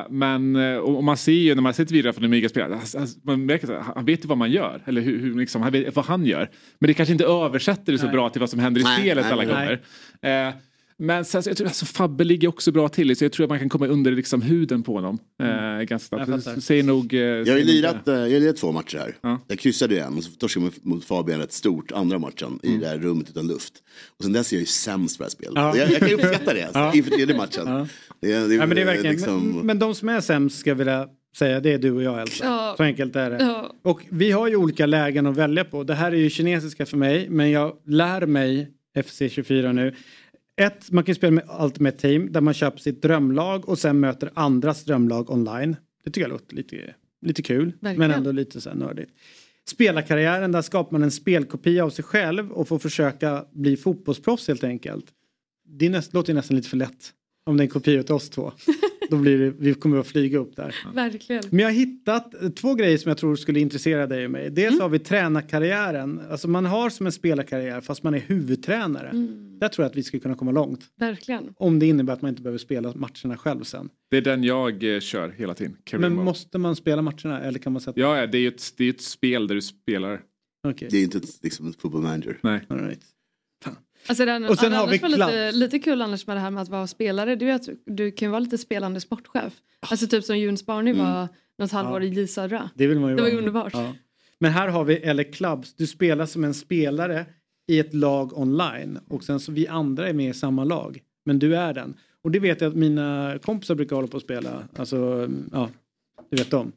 S2: Eh, men eh, och, och man ser ju när man sitter vidare från en Mygga spelar. Alltså, alltså, man märker så här, han han vet ju vad man gör. Eller hur, hur, liksom, han vet vad han gör. Men det kanske inte översätter det så bra till vad som händer i
S14: Nej,
S2: spelet
S14: nej,
S2: alla
S14: nej.
S2: gånger. Eh, Men sen, så jag tror, alltså, Fabbe ligger också bra till så jag tror att man kan komma under liksom, huden på honom eh, ganska
S14: Mm. Jag
S2: snabbt.
S14: fattar.
S2: Så Säger nog... eh,
S14: Jag har
S2: säger
S14: ju
S2: nog
S14: lirat, eh, jag har lirat två matcher här. Jag kryssade ju en och så torskade jag mot Fabian rätt stort andra matchen i det här rummet utan luft. Och sen dess är jag ju sämst på det här spelet.
S1: Ja.
S14: Jag, jag kan ju uppskatta det alltså,
S1: Ja.
S14: inför tredje matchen.
S1: Ja.
S14: Det, är- det,
S1: Ja, men, det är
S14: är
S1: verkligen,
S14: liksom-
S1: men, men de som är sämst ska jag vilja säga det är du och jag Elsa.
S3: Ja.
S1: Så enkelt är det.
S3: Ja.
S1: Och vi har ju olika lägen att välja på. Det här är ju kinesiska för mig men jag lär mig FC24 nu. Ett, man kan ju spela med Ultimate Team där man köper sitt drömlag och sen möter andras drömlag online. Det tycker jag låter lite, lite kul
S15: Verkligen.
S1: men ändå lite så här nördigt. Spelarkarriären, där skapar man en spelkopia av sig själv och får försöka bli fotbollsproffs helt enkelt. Det är näst, låter ju nästan lite för lätt. Om det är en kopia åt oss två. Då blir det, vi kommer att flyga upp där.
S3: Verkligen.
S1: Men jag har hittat eh, två grejer som jag tror skulle intressera dig och mig. Dels har vi tränarkarriären. Alltså man har som en spelarkarriär fast man är huvudtränare. Där tror jag att vi skulle kunna komma långt.
S3: Verkligen.
S1: Om det innebär att man inte behöver spela matcherna själv sen.
S2: Det är den jag eh, kör hela tiden. Career
S1: Men
S2: mode.
S1: måste man spela matcherna eller kan man sätta...
S2: Ja, ja, det är ju ett, det är ju ett spel där du spelar.
S1: Okej.
S14: Det är ju inte ett- liksom ett football manager.
S2: Nej.
S1: All right.
S3: Alltså det
S14: Och sen
S3: ja,
S14: har
S3: annars
S14: vi
S3: var lite,
S14: klass.
S3: lite kul annars med det här med att vara spelare. Det är ju att du kan vara lite spelande sportchef. Alltså typ som Jun Sparny
S1: Mm.
S3: var något halvår i Eh, J Södra.
S1: Det vill man ju
S3: Det var
S1: vara.
S3: ju underbart.
S1: Ja. Men här har vi eller clubs. Du spelar som en spelare i ett lag online och sen så vi andra är med i samma lag. Men du är den. Och det vet jag att mina kompisar brukar hålla på att spela. Alltså, ja, du vet dem.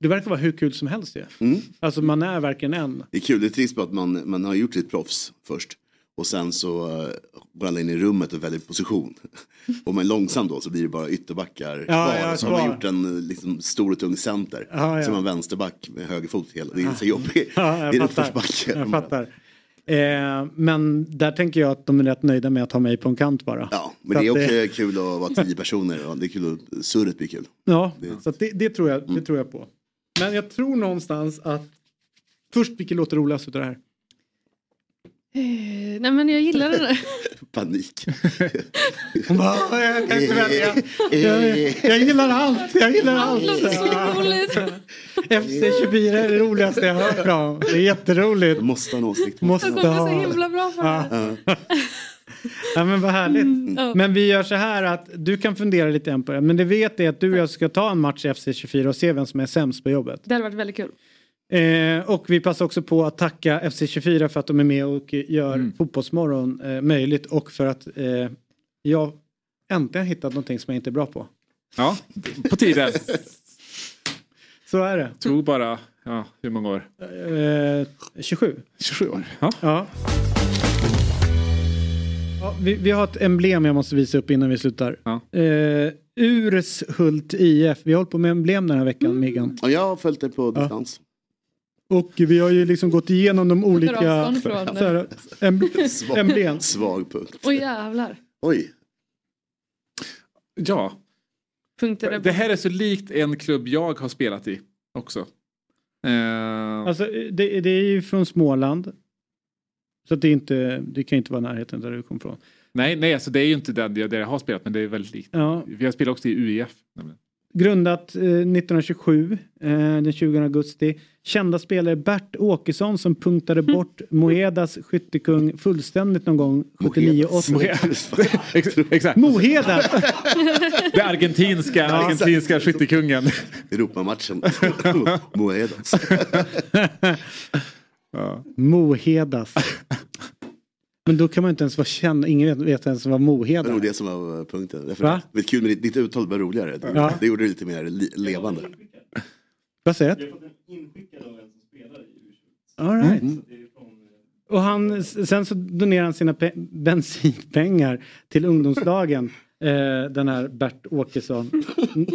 S1: Det verkar vara hur kul som helst det.
S14: Mm.
S1: Alltså man är verkligen en.
S14: Det är kul, det är trist på att man, man har gjort sitt proffs först. Och sen så eh, går alla in i rummet och väljer position. Om man är långsam då så blir det bara ytterbackar kvar.
S1: ja,
S14: så har man
S1: kvar.
S14: gjort en eh, liksom, stor och tung center.
S1: Ja, ja.
S14: Så är man vänsterback med högerfot hela. Det är så jobbigt. det
S1: Ja,
S14: är
S1: jag fattar.
S14: uppförsbacke.
S1: Jag fattar. Eh, men där tänker jag att de är rätt nöjda med att ha mig på en kant bara.
S14: Ja,
S1: Så
S14: men det är
S1: att eh,
S14: också kul att vara tio personer. Och det är kul att surret blir kul.
S1: Ja,
S14: Det- Mm.
S1: så att det, det, tror jag, det tror jag på. Men jag tror någonstans att... Först, vilket låter roligast utav det här?
S3: Eh, nej men jag gillar det där.
S14: Panik.
S1: Hon bara, "Åh, jag kan inte välja. Jag, jag gillar allt, jag gillar allt. FC24 är det roligaste jag hört om. Det är jätteroligt.
S14: Måste ha en åsikt.
S1: Måste
S3: Jag kommer så
S1: ha.
S3: himla bra för det.
S1: Ja men vad härligt.
S3: ja.
S1: Men vi gör så här att du kan fundera lite än på det. Men det vet är att du och jag ska ta en match i FC24 och se vem som är sämst på jobbet.
S3: Det hade varit väldigt kul.
S1: Eh, och vi passar också på att tacka FC24 för att de är med och gör Fotbollsmorgon eh, möjligt och för att eh, jag äntligen hittat någonting som jag inte är bra på.
S2: Ja, på tiden.
S1: Så är det.
S2: Tog bara, ja, hur många år?
S1: Eh, 27.
S2: 27 år. Ja.
S1: ja. Ja, vi, vi har ett emblem jag måste visa upp innan vi slutar. Eh, Urshult IF. Vi har hållit på med emblem den här veckan,
S3: Mm.
S1: Miggan.
S14: Ja, jag har följt det på distans.
S1: Och vi har ju liksom gått igenom de olika
S3: avstånd från-
S1: så här, em,
S14: Svag,
S1: emblem.
S14: svag punkt.
S3: Åh jävlar.
S14: Oj.
S2: Ja,
S3: Punkter där.
S2: det här är så likt en klubb jag har spelat i också. Eh,
S1: Alltså, det, det är ju från Småland. Så att det, är inte, det kan inte vara närheten där du kom från.
S2: nej, nej, alltså det är ju inte den jag, där jag har spelat, men det är väldigt likt.
S1: Ja.
S2: Vi har spelat också i UEF. nämligen.
S1: Grundat eh, 1927, eh, den 20 augusti. Kända spelare Bert Åkesson som punktade bort Moedas skyttekung fullständigt någon gång 79-80.
S2: Ex- Exakt.
S1: Moheda!
S2: Det argentinska, argentinska skyttekungen.
S14: Europamatchen. Moedas.
S1: Mohedas. Men då kan man inte ens vara känd, ingen vet, vet ens vad
S14: Det
S1: Moheda
S14: var
S1: är.
S14: det som var eh, punkten. Därför
S1: Va?
S14: Det är kul med ditt, ditt uttal var roligare. Det,
S1: Ja.
S14: det gjorde det lite mer li, levande.
S1: Vad säger du? All
S14: Mm.
S1: right. Och han, s- sen så donerar han sina pe- bensinpengar till ungdomsdagen. eh, den här Bert Åkesson.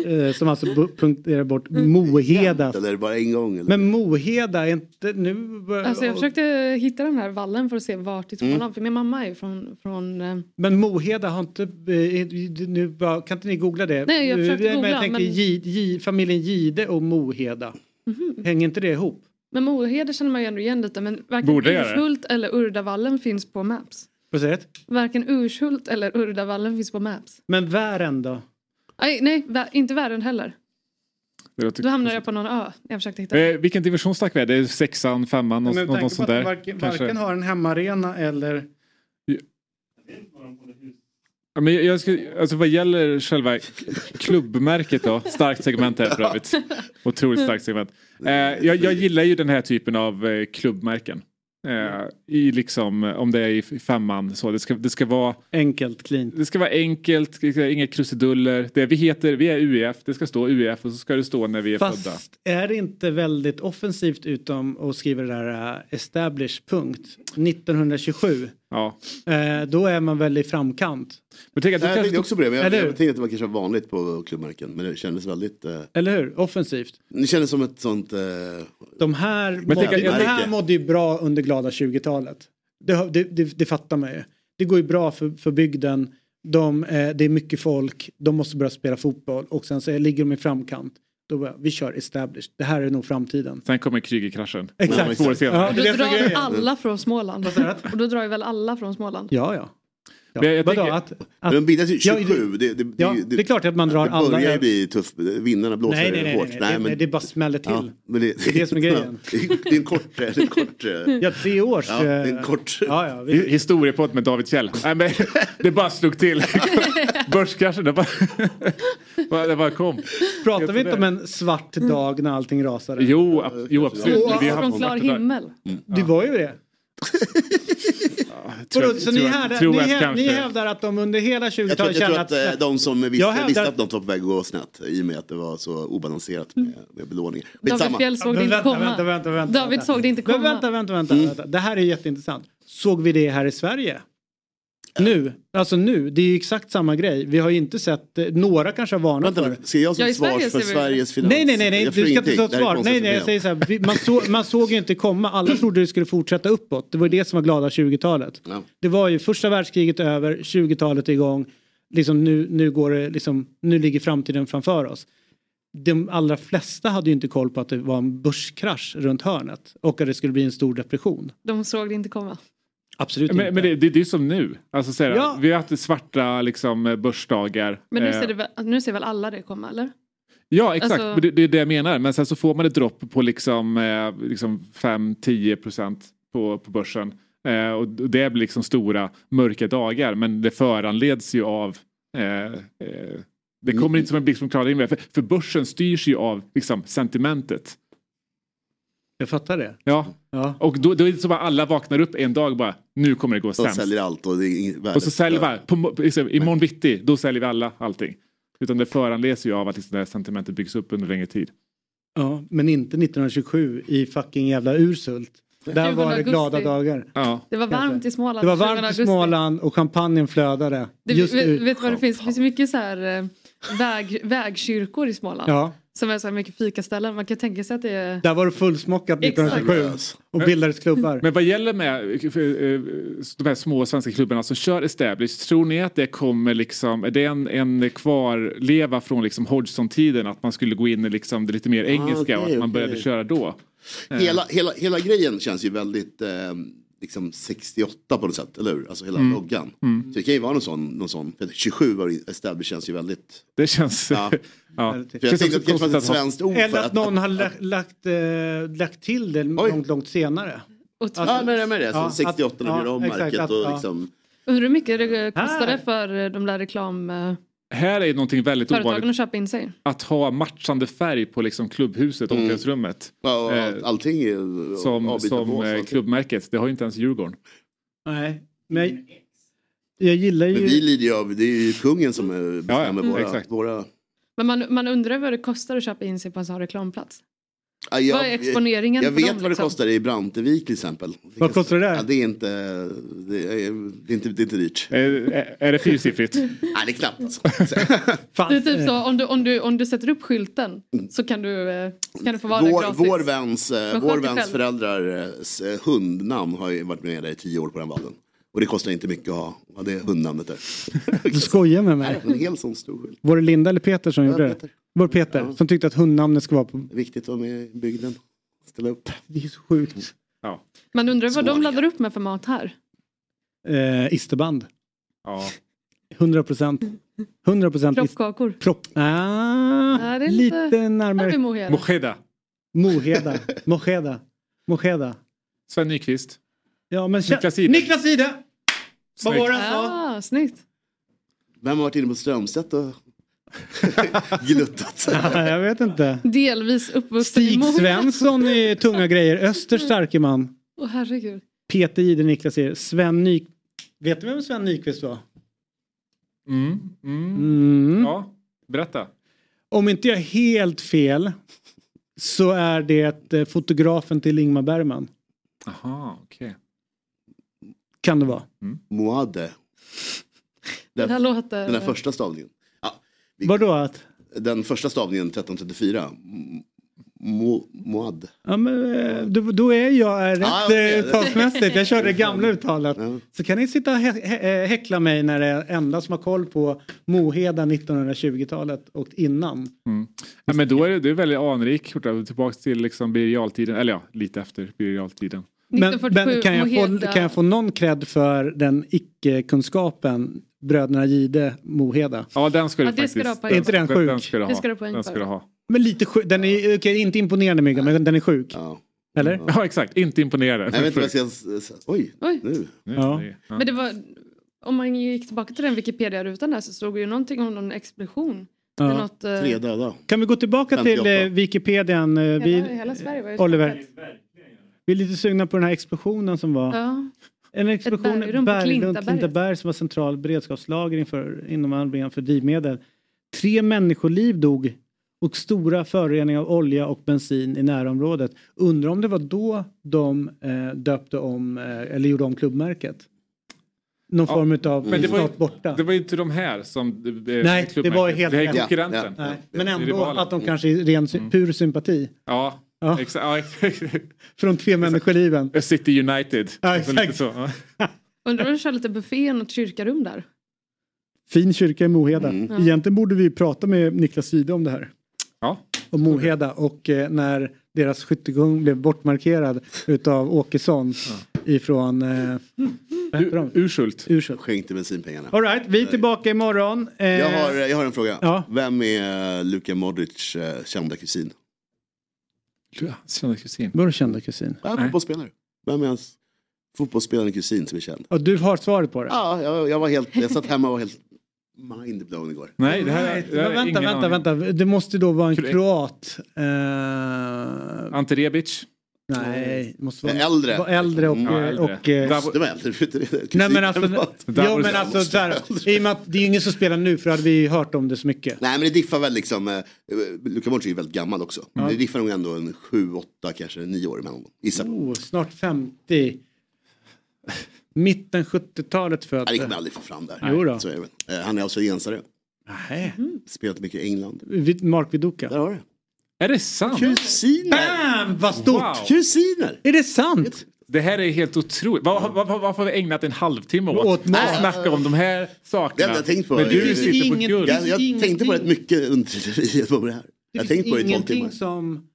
S1: eh, som alltså bu- punkterar bort Moheda.
S14: Eller bara en gång. Eller?
S1: Men Moheda är inte nu... eh, bör-
S3: Alltså jag försökte hitta den här vallen för att se vart i Småland. För min mamma är ju från... från eh,
S1: Men Moheda har inte... eh, Nu, bara- kan inte ni googla det?
S3: Nej, jag försökte
S1: Eh, Men
S3: googla,
S1: jag tänker
S3: men-
S1: Gi- Gi- familjen Gide och Moheda.
S3: Mhm.
S1: Hänger inte det ihop?
S3: men Moheder känner man ju ändå igen lite. Men varken
S1: Borde göra det.
S3: Urshult eller Urdavallen finns på Maps.
S1: Vad säger du?
S3: Varken Urshult eller Urdavallen finns på Maps.
S1: Men Vären då?
S3: Aj, nej, vä- inte världen heller.
S2: Det låter-
S3: Då hamnade jag på någon ö. Jag försökte hitta.
S2: Eh, vilken division stack vi? Det är sexan, femman, någon,
S1: Men med
S2: någon,
S1: tanke på
S2: sånt
S1: att de
S2: där.
S1: Varken,
S2: kanske.
S1: varken har en hemmaarena eller...
S2: Ja. Ja, men jag- jag ska, alltså vad gäller själva k- klubbmärket då, starkt segment här för övrigt. Otroligt starkt segment. Eh, jag, jag gillar ju den här typen av eh, klubbmärken. Eh, I liksom, eh, om det är i f- femman så. Det ska, det ska vara...
S1: Enkelt, clean.
S2: Det ska vara enkelt, det ska- inga krusiduller. Det vi heter, vi är UEF, det ska stå UEF och så ska det stå när vi är födda.
S1: Fast är det inte väldigt offensivt utom att skriva det där eh, establish punkt 1927?
S2: Ja.
S1: Eh, då är man väl i framkant.
S2: Men tänk
S14: Jag tänkte också på det, men jag,
S1: Eller
S14: jag
S1: hur?
S14: tänkte att det var kanske vanligt på klubbmärken. Men det kändes väldigt... Eh,
S1: Eller hur? Offensivt.
S14: det kändes som ett sånt... Eh,
S1: De här,
S14: tänk
S1: mådde,
S14: att-
S1: de här
S14: Märke.
S1: mådde ju bra under glada 20-talet. Det, har- det, det, det fattar man ju. Det går ju bra för, för bygden. De, eh, det är mycket folk. De måste börja spela fotboll och sen så ligger de i framkant. Då bara, vi kör established. Det här är nog framtiden.
S2: Sen kommer Krügerkraschen.
S1: Exakt.
S2: Två år senare.
S1: Ja,
S3: Då drar väl alla från Småland? Och då drar ju väl alla från Småland?
S1: Ja, ja. ja.
S14: Men jag
S1: Vadå,
S14: tänker-
S1: att,
S14: men
S1: att,
S14: de bildas ju
S1: Ja,
S14: 27. Det, det, det,
S1: ja, det är klart att man drar
S14: det
S1: alla
S14: börjar
S1: över-
S14: bli tufft. eh, Vinnarna blåser
S1: nej, nej, nej,
S14: hårt.
S1: nej, nej, nej, det bara smäller till.
S14: Ja, men det,
S1: Det är det som är grejen.
S14: det är en kort... Det är en kort eh,
S1: Ja, tre års...
S14: Ja, det är en
S1: eh,
S14: kort...
S1: Ja, ja,
S2: Hi- Historiepodd med David Kjell. Nej, men, det bara slog till. Börskraschen, det bara, bara- det bara kom.
S1: Pratar vi inte om en svart
S14: Mm.
S1: dag när allting rasade?
S2: Jo, ab- jo absolut.
S1: Och
S2: har haft svarta dagar.
S1: Det var ju det.
S2: Tror
S1: Vadå,
S2: jag-
S1: så ni,
S2: tror jag-
S1: hävdar,
S2: tror
S1: ni,
S2: jag
S1: hä-
S2: kanske.
S1: ni hävdar att de under hela
S14: Jag tror,
S1: 20-talet
S14: jag tror
S1: kände
S14: att
S1: att...
S14: eh, de som visste,
S1: Jag hävdar-
S14: visste att något var på väg att gå snett i och med att det var så obalanserat med, med belåningen.
S3: David Fjell såg det inte komma.
S1: Vänta, vänta, vänta,
S3: David
S1: vänta.
S3: såg det inte komma.
S1: Men vänta, vänta, vänta,
S14: Mm.
S1: vänta. Det här är jätteintressant. Såg vi det här i Sverige? Nu, alltså nu, det är ju exakt samma grej. Vi har ju inte sett, eh, några kanske har varnat
S14: Vänta,
S1: för det.
S14: ser jag som Ja, i svars Sverige för ser vi det. Sveriges finans-
S1: Nej, nej, nej, nej.
S14: Jag
S1: du
S14: förstår
S1: ska inte ta
S14: ingenting.
S1: ett
S14: Det här är
S1: svar.
S14: konstigt
S1: Nej, nej, jag
S14: problem.
S1: säger så här, vi, man, så, man såg ju inte komma. Alla trodde det skulle fortsätta uppåt. Det var ju det som var glada 20-talet. Det var ju första världskriget över, 20-talet är igång. Liksom nu, nu, går det, liksom, nu ligger framtiden framför oss. De allra flesta hade ju inte koll på att det var en börskrasch runt hörnet och att det skulle bli en stor depression.
S3: De såg det inte komma.
S1: Absolut
S2: men,
S1: inte.
S2: men det, det, det är som nu. Alltså, så här,
S3: Ja.
S2: Vi har haft svarta liksom, börsdagar.
S3: Men nu
S2: Eh,
S3: ser, det, väl- nu ser väl alla det komma eller?
S2: Ja exakt,
S3: Alltså-
S2: Men det, det är det jag menar. Men sen så får man ett dropp på liksom, eh, liksom 5-10 procent på, på börsen. Eh, och d- det blir liksom stora mörka dagar men det föranleds ju av eh, eh, det kommer inte som en blixt från klar himmel. För, för börsen styrs ju av liksom, sentimentet.
S1: Jag fattar det.
S2: Ja.
S1: Ja.
S2: Och då, då är det som att alla vaknar upp en dag och bara nu kommer det gå
S14: De
S2: sämst.
S14: säljer allt och det är ing-
S2: Och så
S14: värdet-
S2: säljer vi, all- på, mo- liksom, imorgon bitti, då säljer vi alla allting. Utan det föranleds ju av att liksom, det här sentimentet byggs upp under längre tid.
S1: Ja, men inte 1927 i fucking jävla Ursult. Där
S3: 20
S1: var det
S3: augusti.
S1: glada dagar.
S2: Ja.
S3: Det var varmt i Småland
S1: Det var
S3: 20
S1: varmt i
S3: augusti.
S1: Småland och champagnen flödade.
S3: Det,
S1: just
S3: vet,
S1: ut.
S3: vet du vad det finns? Det finns mycket så här, eh, väg, vägkyrkor i Småland.
S1: Ja.
S3: Som är så här mycket fikaställen. Man kan tänka sig att det är...
S1: Där var det fullsmockat 1927 och bildades klubbar.
S2: Men vad gäller med eh, eh, de här små svenska klubbarna som kör established, tror ni att det kommer liksom, är det en, en kvarleva från liksom Hodgson-tiden att man skulle gå in i liksom det lite mer engelska och att
S14: okej,
S2: man
S14: okej.
S2: började köra då?
S14: Hela, hela, hela grejen känns ju väldigt eh, liksom 68 på något sätt, eller hur? Alltså hela
S2: Mm.
S14: loggan.
S2: Mm.
S14: Så det kan ju vara någon sån. Någon sån för 27 var det established känns ju väldigt...
S2: Det känns...
S14: Ja.
S2: ja.
S14: För jag tänkte att det kanske fanns ett svenskt ord för
S1: Eller att någon har lagt, lagt, eh, lagt till det långt, långt senare.
S3: Alltså,
S14: Ja, men det med det. Så
S1: ja, att-
S14: 68 när de gjorde om
S1: ja, exakt,
S14: märket
S1: att-
S14: och
S1: ja.
S14: liksom...
S3: Undrar hur mycket det kostade för eh, de där reklamföretagen
S2: Här är någonting väldigt
S3: att
S2: ovanligt.
S3: köpa in sig.
S2: Att ha matchande färg på liksom klubbhuset, omklädningsrummet.
S14: Mm. Ja, och
S2: Eh,
S14: allt- allting är
S2: Som,
S14: avbitat på
S2: som
S14: oss,
S2: eh,
S14: allting.
S2: klubbmärket, det har ju inte ens Djurgården.
S1: Nej, men jag, jag gillar ju...
S14: Men vi lider ju av, det är ju kungen som eh, bestämmer
S3: ja,
S14: våra...
S3: exakt.
S14: våra
S3: Men man, man undrar vad det kostar att köpa in sig på en sån reklamplats.
S14: Ja, jag-
S3: Vad är exponeringen
S14: Jag
S3: för
S14: vet
S3: dem,
S14: vad det
S3: liksom?
S14: kostar i Brantevik till exempel.
S1: Vad kostar det där?
S14: Ja, det, är inte, det, är, det, är inte, det är inte dyrt.
S2: Är, Eh, är det fyrsiffrigt?
S14: Nej, det är knappt. alltså.
S3: Det är
S1: eh,
S3: typ
S1: Alltså-
S3: så om du, om du, om du sätter upp skylten så kan du, eh, kan du få vara där
S14: Mm. Vår,
S3: gratis.
S14: vår väns, eh,
S3: Men
S14: vår
S3: sköt dig
S14: väns
S3: själv.
S14: föräldrars eh, hundnamn har ju varit med där i tio år på den vallen. Och det kostar inte mycket att ha, ha det hundnamnet där.
S1: Du skojar med
S14: Nej,
S1: mig.
S14: en hel sån stor skylt.
S1: Var det Linda eller Peter som gjorde det? Var det Peter som tyckte att hundnamnet ska vara på...
S14: Viktigt att vara med i bygden. Ställa upp.
S1: Det är så sjukt.
S2: Ja.
S3: Man undrar vad de laddar upp med för mat här.
S1: Eh, isterband.
S2: Ja.
S1: 100 procent. 100 procent.
S3: Proffkakor.
S1: Propp. Ah,
S3: Ja, det är
S1: lite,
S3: lite-
S1: närmare.
S3: Ja, det är Moheda.
S2: Moheda.
S1: Moheda. Moheda. Moheda.
S2: Sven Nyqvist.
S1: Ja, men
S2: Niklas Ide.
S1: Niklas Ide! Vad var det han sa?
S3: ah, Snyggt.
S14: Vem har varit inne på Strömstedt och gluttat?
S1: Ja, jag vet inte.
S3: Delvis uppvuxen i
S1: Stig
S3: Mora.
S1: Svensson är tunga grejer. Östers starke man.
S3: Åh herregud.
S1: Peter Jihde Niklas er. Sven Nyk... Vet du vem Sven Nyqvist var?
S2: Mm, mm.
S1: Mm.
S2: Ja, berätta.
S1: Om inte jag är helt fel så är det eh, fotografen till Ingmar Bergman.
S2: Aha, okej.
S1: Kan det vara.
S14: Moade.
S3: Den här låter-
S14: Den här första stavningen. Ja, vi-
S1: Vadå att?
S14: Den första stavningen 1334. M- Mo, moad.
S1: Ja, men, eh, då, då är jag eh, rätt
S14: Ah,
S1: ah,
S14: okej.
S1: talsmässigt. Jag kör det gamla
S2: Mm.
S1: uttalet. Så kan ni sitta och hä hä- eh, häckla mig när det är enda som har koll på Moheda 1920-talet och innan.
S2: Ja, men då är det, det är väldigt anrik. Tillbaka till liksom Birger Jarl-tiden. Eller ja, lite efter Birger Jarl-tiden.
S1: Men, men kan, jag få,
S3: Moheda.
S1: kan jag få någon cred för den icke-kunskapen bröderna Gide Moheda?
S2: Ja, den ska
S3: Ja,
S2: du
S3: det
S2: faktiskt.
S3: ska du ha poäng
S1: Är inte
S3: för.
S1: den sjuk?
S2: Den ska du ha.
S3: Det ska du ha poäng
S2: den ska
S3: för.
S2: du ha.
S1: Men lite sjuk. Den är okej, inte imponerande mygga, men den är sjuk. Eller?
S2: Ja, exakt. Inte imponerande.
S14: Nej, vänta, jag ska... Oj,
S3: Oj.
S14: nu.
S1: Ja.
S3: Men det var, om man gick tillbaka till den Wikipedia-rutan där så stod det ju någonting om någon explosion. Det är något, eh,
S14: döda.
S1: Kan vi gå tillbaka till
S14: 58.
S1: eh, Wikipedian? eh, Vi,
S3: hela, hela Sverige var ju
S1: Oliver,
S3: skakat.
S1: vi är lite sugna på den här explosionen som var.
S3: Ja.
S1: En explosion
S3: bergrum
S1: i
S3: på
S1: Berglund,
S3: Klintaberget.
S1: Klintaberg som var central beredskapslager inför, inom anläggningen för drivmedel. Tre människoliv dog och stora föroreningar av olja och bensin i närområdet. Undrar om det var då de eh, döpte om eh, eller gjorde om klubbmärket? Någon
S2: Ja,
S1: form av
S2: Men det var, ju,
S1: stat borta.
S2: det var ju inte de här som... eh,
S1: Nej,
S2: klubbmärket.
S1: det var helt
S2: Det
S1: rätt.
S2: är konkurrenten.
S1: Nej, Men
S2: Det är
S1: ändå
S2: rivalen. Mm.
S1: att de kanske är ren sy- pur sympati
S2: Ja, exakt. Ja, exakt.
S1: från tre människoliven.
S2: City United.
S1: Ja,
S2: Alltså lite
S1: exakt.
S2: så, ja.
S3: Undrar om du kör lite buffé och något kyrkarum där?
S1: Fin kyrka i Moheda.
S3: Mm.
S1: Egentligen borde vi prata med Niklas Gide om det här.
S2: Ja.
S1: Om Moheda och eh, när deras skyttegång blev bortmarkerad utav Åkesson ifrån... Eh, vad heter de?
S2: Urshult.
S1: Urshult.
S14: Skänk till bensinpengarna.
S1: All right, vi är tillbaka imorgon. Eh,
S14: Jag har, jag har en fråga.
S1: Ja.
S14: Vem är Luka Modric eh, kända kusin?
S2: Kända kusin.
S1: Vadå kända kusin?
S14: Ja, fotbollsspelare. Vem är hans fotbollsspelande kusin som är känd?
S1: Ja, du har svaret på det?
S14: Ja, jag, jag, var helt, jag satt hemma och var helt mindblown igår.
S2: Nej, det här,
S1: Nej,
S2: det här
S1: men
S2: är
S1: vänta,
S2: ingen
S1: vänta,
S2: aning.
S1: vänta. Det måste då vara en
S2: Kro-
S1: kroat. Eh,
S2: Ante Rebic.
S1: nej, det måste vara
S14: Äldre. Mm.
S1: vara äldre och...
S14: Ja,
S1: eh,
S14: äldre.
S1: och eh,
S14: Måste vara äldre. Kusin
S1: Nej men alltså,
S14: kan vara-
S1: ja, men alltså så här, i och med att det är ingen som spelar nu för då hade vi ju hört om det så mycket.
S14: Nej men det diffar väl liksom, eh, Luka Modric är ju väldigt gammal också. Det diffar nog ändå en 7-8 kanske 9 år emellan dem. Gissa.
S1: Oh, snart 50. Mitten 70-talet född.
S14: Nej, det kommer jag aldrig få fram där.
S1: Jo då.
S14: Så är det väl. Eh, Han är australiensare.
S1: Nej.
S14: Spelat mycket i England.
S1: Vid- Mark Viduka.
S14: Där har du.
S2: Är det sant?
S14: Kusiner!
S1: Bam! Vad stort!
S2: Wow.
S14: Kusiner!
S1: Är det sant?
S2: Det här är helt otroligt. Vad- vad- vad- Varför har vi ägnat en halvtimme
S1: Åt
S2: åt
S1: mat.
S2: att snacka om de här
S14: Det
S2: sakerna?
S14: hade jag tänkt på.
S2: Men du
S14: Det finns
S2: sitter på
S1: inget-
S2: guld.
S14: Jag, jag
S1: Ingenting.
S14: tänkte på rätt mycket under tiden jag var med här.
S1: Det
S14: Jag
S1: finns
S14: tänkte på det i tolv timmar.
S1: ingenting som...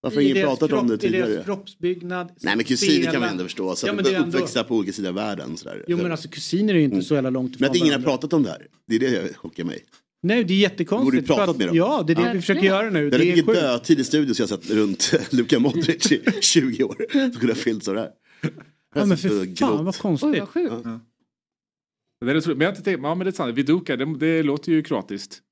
S14: Varför har
S1: i
S14: ingen
S1: deras
S14: pratat om det
S1: kropp- I
S14: tidigare?
S1: deras kroppsbyggnad.
S14: Nej men kusiner kan
S1: spela.
S14: man ändå förstå. Så
S1: Ja,
S14: att
S1: men
S14: de
S1: det
S14: är
S1: är ändå-
S14: uppväxta på olika sidor av världen. Sådär.
S1: Jo men alltså kusiner är ju inte så jävla långt ifrån
S14: men att ingen har
S1: varandra.
S14: pratat om det här. Det är det jag chockar mig.
S1: Nej det är jättekonstigt.
S14: Borde du pratat
S1: för att-
S14: med dem?
S1: Ja det är det
S14: Ja.
S1: vi försöker göra nu.
S14: Det är
S1: Det är
S14: mycket
S1: sjukt.
S14: dödtid i studion så jag satt runt Luka Modric i 20 år. Så kunde jag fyllt sådär.
S1: Ja, men
S14: Jag
S1: för
S14: satt och
S1: fan
S14: grott.
S1: vad konstigt.
S3: Oj vad sjukt.
S2: Det är otroligt. Men jag har inte tänkt, ja men det är sant. Viduka, det, det låter ju kroatiskt.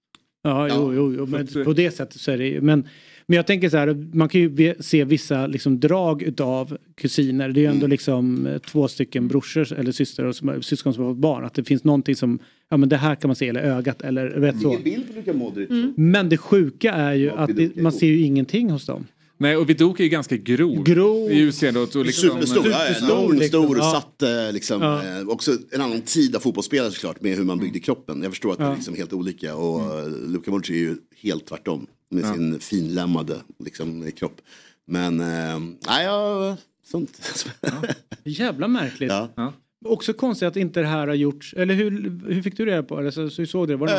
S1: Ja, jo, jo, jo men på det sättet så är det ju. Men, men jag tänker så här, man kan ju ve- se vissa liksom, drag utav kusiner. Det är ju
S14: Mm.
S1: ändå liksom eh, två stycken brorsor eller systrar och som, syskon som har fått barn. Att det finns någonting som, ja men det här kan man se, eller ögat eller vet så.
S14: Vilken bild på Luka Modric.
S3: Mm.
S1: Men det sjuka är ju att det, man ser ju ingenting hos dem.
S2: Nej, och Viduka är ju ganska grov.
S1: Grov.
S2: I utseendet. Och liksom,
S14: Superstor, ja, ja,
S1: Superstor,
S14: lång,
S1: liksom.
S14: stor och
S1: Ja.
S14: satt eh, liksom,
S1: Ja.
S14: eh, också en annan tid av fotbollsspelare såklart med hur man byggde kroppen. Jag förstår att det är
S1: Ja.
S14: liksom helt olika och mm. Luka Modric är ju helt tvärtom med
S2: Ja.
S14: sin finlämmade liksom, kropp. Men, eh, nej, ja, sånt.
S1: Jävla märkligt.
S14: ja.
S1: Också konstigt att inte det här har gjorts, eller hur, hur fick du reda på det? Alltså, Så, så hur såg du det? Var det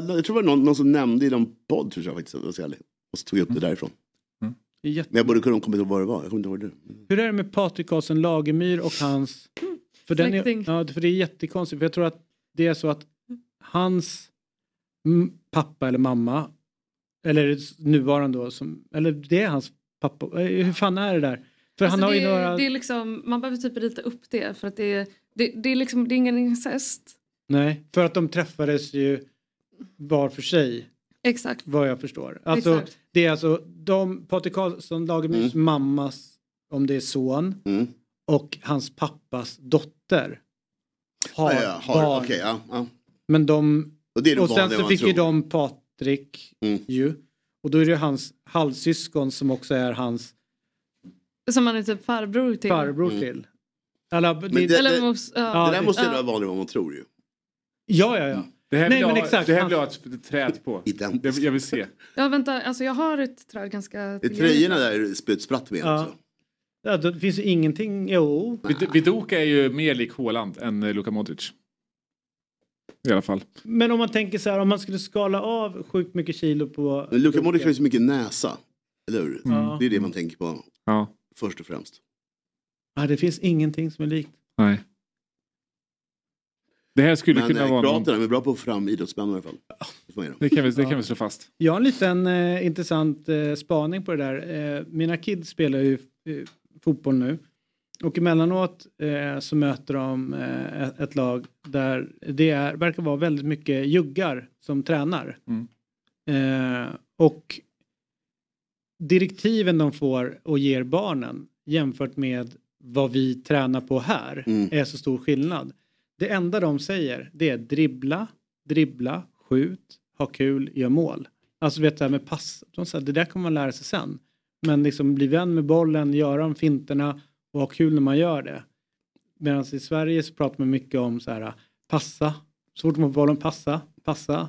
S1: någon-
S14: Eh, jag tror det var någon, någon som nämnde i någon podd, tror jag faktiskt, om jag ska vara ärlig. Och så tog jag upp det därifrån.
S1: det är jätte-
S14: Men jag borde kunna komma ihåg vad det var, jag kommer inte ihåg det.
S1: Hur är det med Patrik Karlsson Lagemyr och hans... För, den
S3: Släkting.
S1: är, ja, för det är jättekonstigt. För jag tror att det är så att hans m- pappa eller mamma, eller nuvarande då, som, eller det är hans pappa. Eh, Hur fan är det där? För han
S3: Alltså,
S1: har
S3: det,
S1: ju några...
S3: det är liksom, man behöver typ rita upp det för att det är, det, det är, liksom, det är ingen incest.
S1: Nej, för att de träffades ju var för sig.
S3: Exakt.
S1: Vad jag förstår. Alltså,
S3: Exakt.
S1: Det är alltså de, Patrik Karlsson, Lagerbys mammas, om det är son,
S14: Mm.
S1: och hans pappas dotter. Har
S14: Ja, ja, har,
S1: barn.
S14: okej, ja, ja.
S1: Men de...
S14: Och det är det vanliga
S1: sen så
S14: man
S1: fick ju
S14: tror.
S1: de Patrik
S14: Mm.
S1: ju. Och då är det ju hans halvsyskon som också är hans
S3: Som han är typ farbror till.
S1: farbror till. Alla,
S14: Mm. Men det, det,
S3: Eller
S14: det,
S3: mos- ja.
S14: där måste ju
S3: Ja.
S14: vara vanligare än vad man tror ju.
S1: Ja, ja,
S14: Mm.
S1: ja.
S2: Det här vill,
S1: Nej,
S2: jag,
S1: men
S2: ha-
S1: exakt.
S2: det här
S1: Han-
S2: vill jag ha ett träd på.
S14: Det,
S2: jag vill se.
S3: Ja vänta, alltså jag har ett träd ganska...
S14: Det är tröjorna där är sputspratt med
S1: Ja.
S14: också.
S1: Ja, det finns ju ingenting, jo.
S2: Vid- Vidoka är ju mer lik Haaland än eh, Luka Modric. I alla fall.
S1: Men om man tänker så här, om man skulle skala av sjukt mycket kilo på...
S14: Men Luka Modric har ju så mycket näsa. Eller hur?
S1: Ja.
S14: Det är det man tänker på
S2: Ja.
S14: först och främst.
S1: Ja, det finns ingenting som är likt.
S2: Nej. Det här skulle
S14: Men
S2: kunna
S14: eh,
S2: vara någon...
S14: Kroaterna är bra på att få fram idrottsmän i alla fall. Det får man ge dem.
S2: Det kan vi, det kan vi slå fast.
S1: Jag har en liten eh, intressant eh, spaning på det där. Eh, mina kids spelar ju eh, fotboll nu. Och emellanåt eh, så möter de eh, ett, ett lag där det är, verkar vara väldigt mycket juggar som tränar.
S2: Mm.
S14: Mm.
S1: Eh, och direktiven de får och ger barnen jämfört med vad vi tränar på här
S14: Mm.
S1: är så stor skillnad. Det enda de säger det är dribbla, dribbla, skjut, ha kul, gör mål. Alltså vet du det här med pass, de säger, det där kommer man lära sig sen. Men liksom bli vän med bollen, göra de finterna och ha kul när man gör det. Medan i Sverige så pratar man mycket om så här passa, så fort man får bollen passa, passa.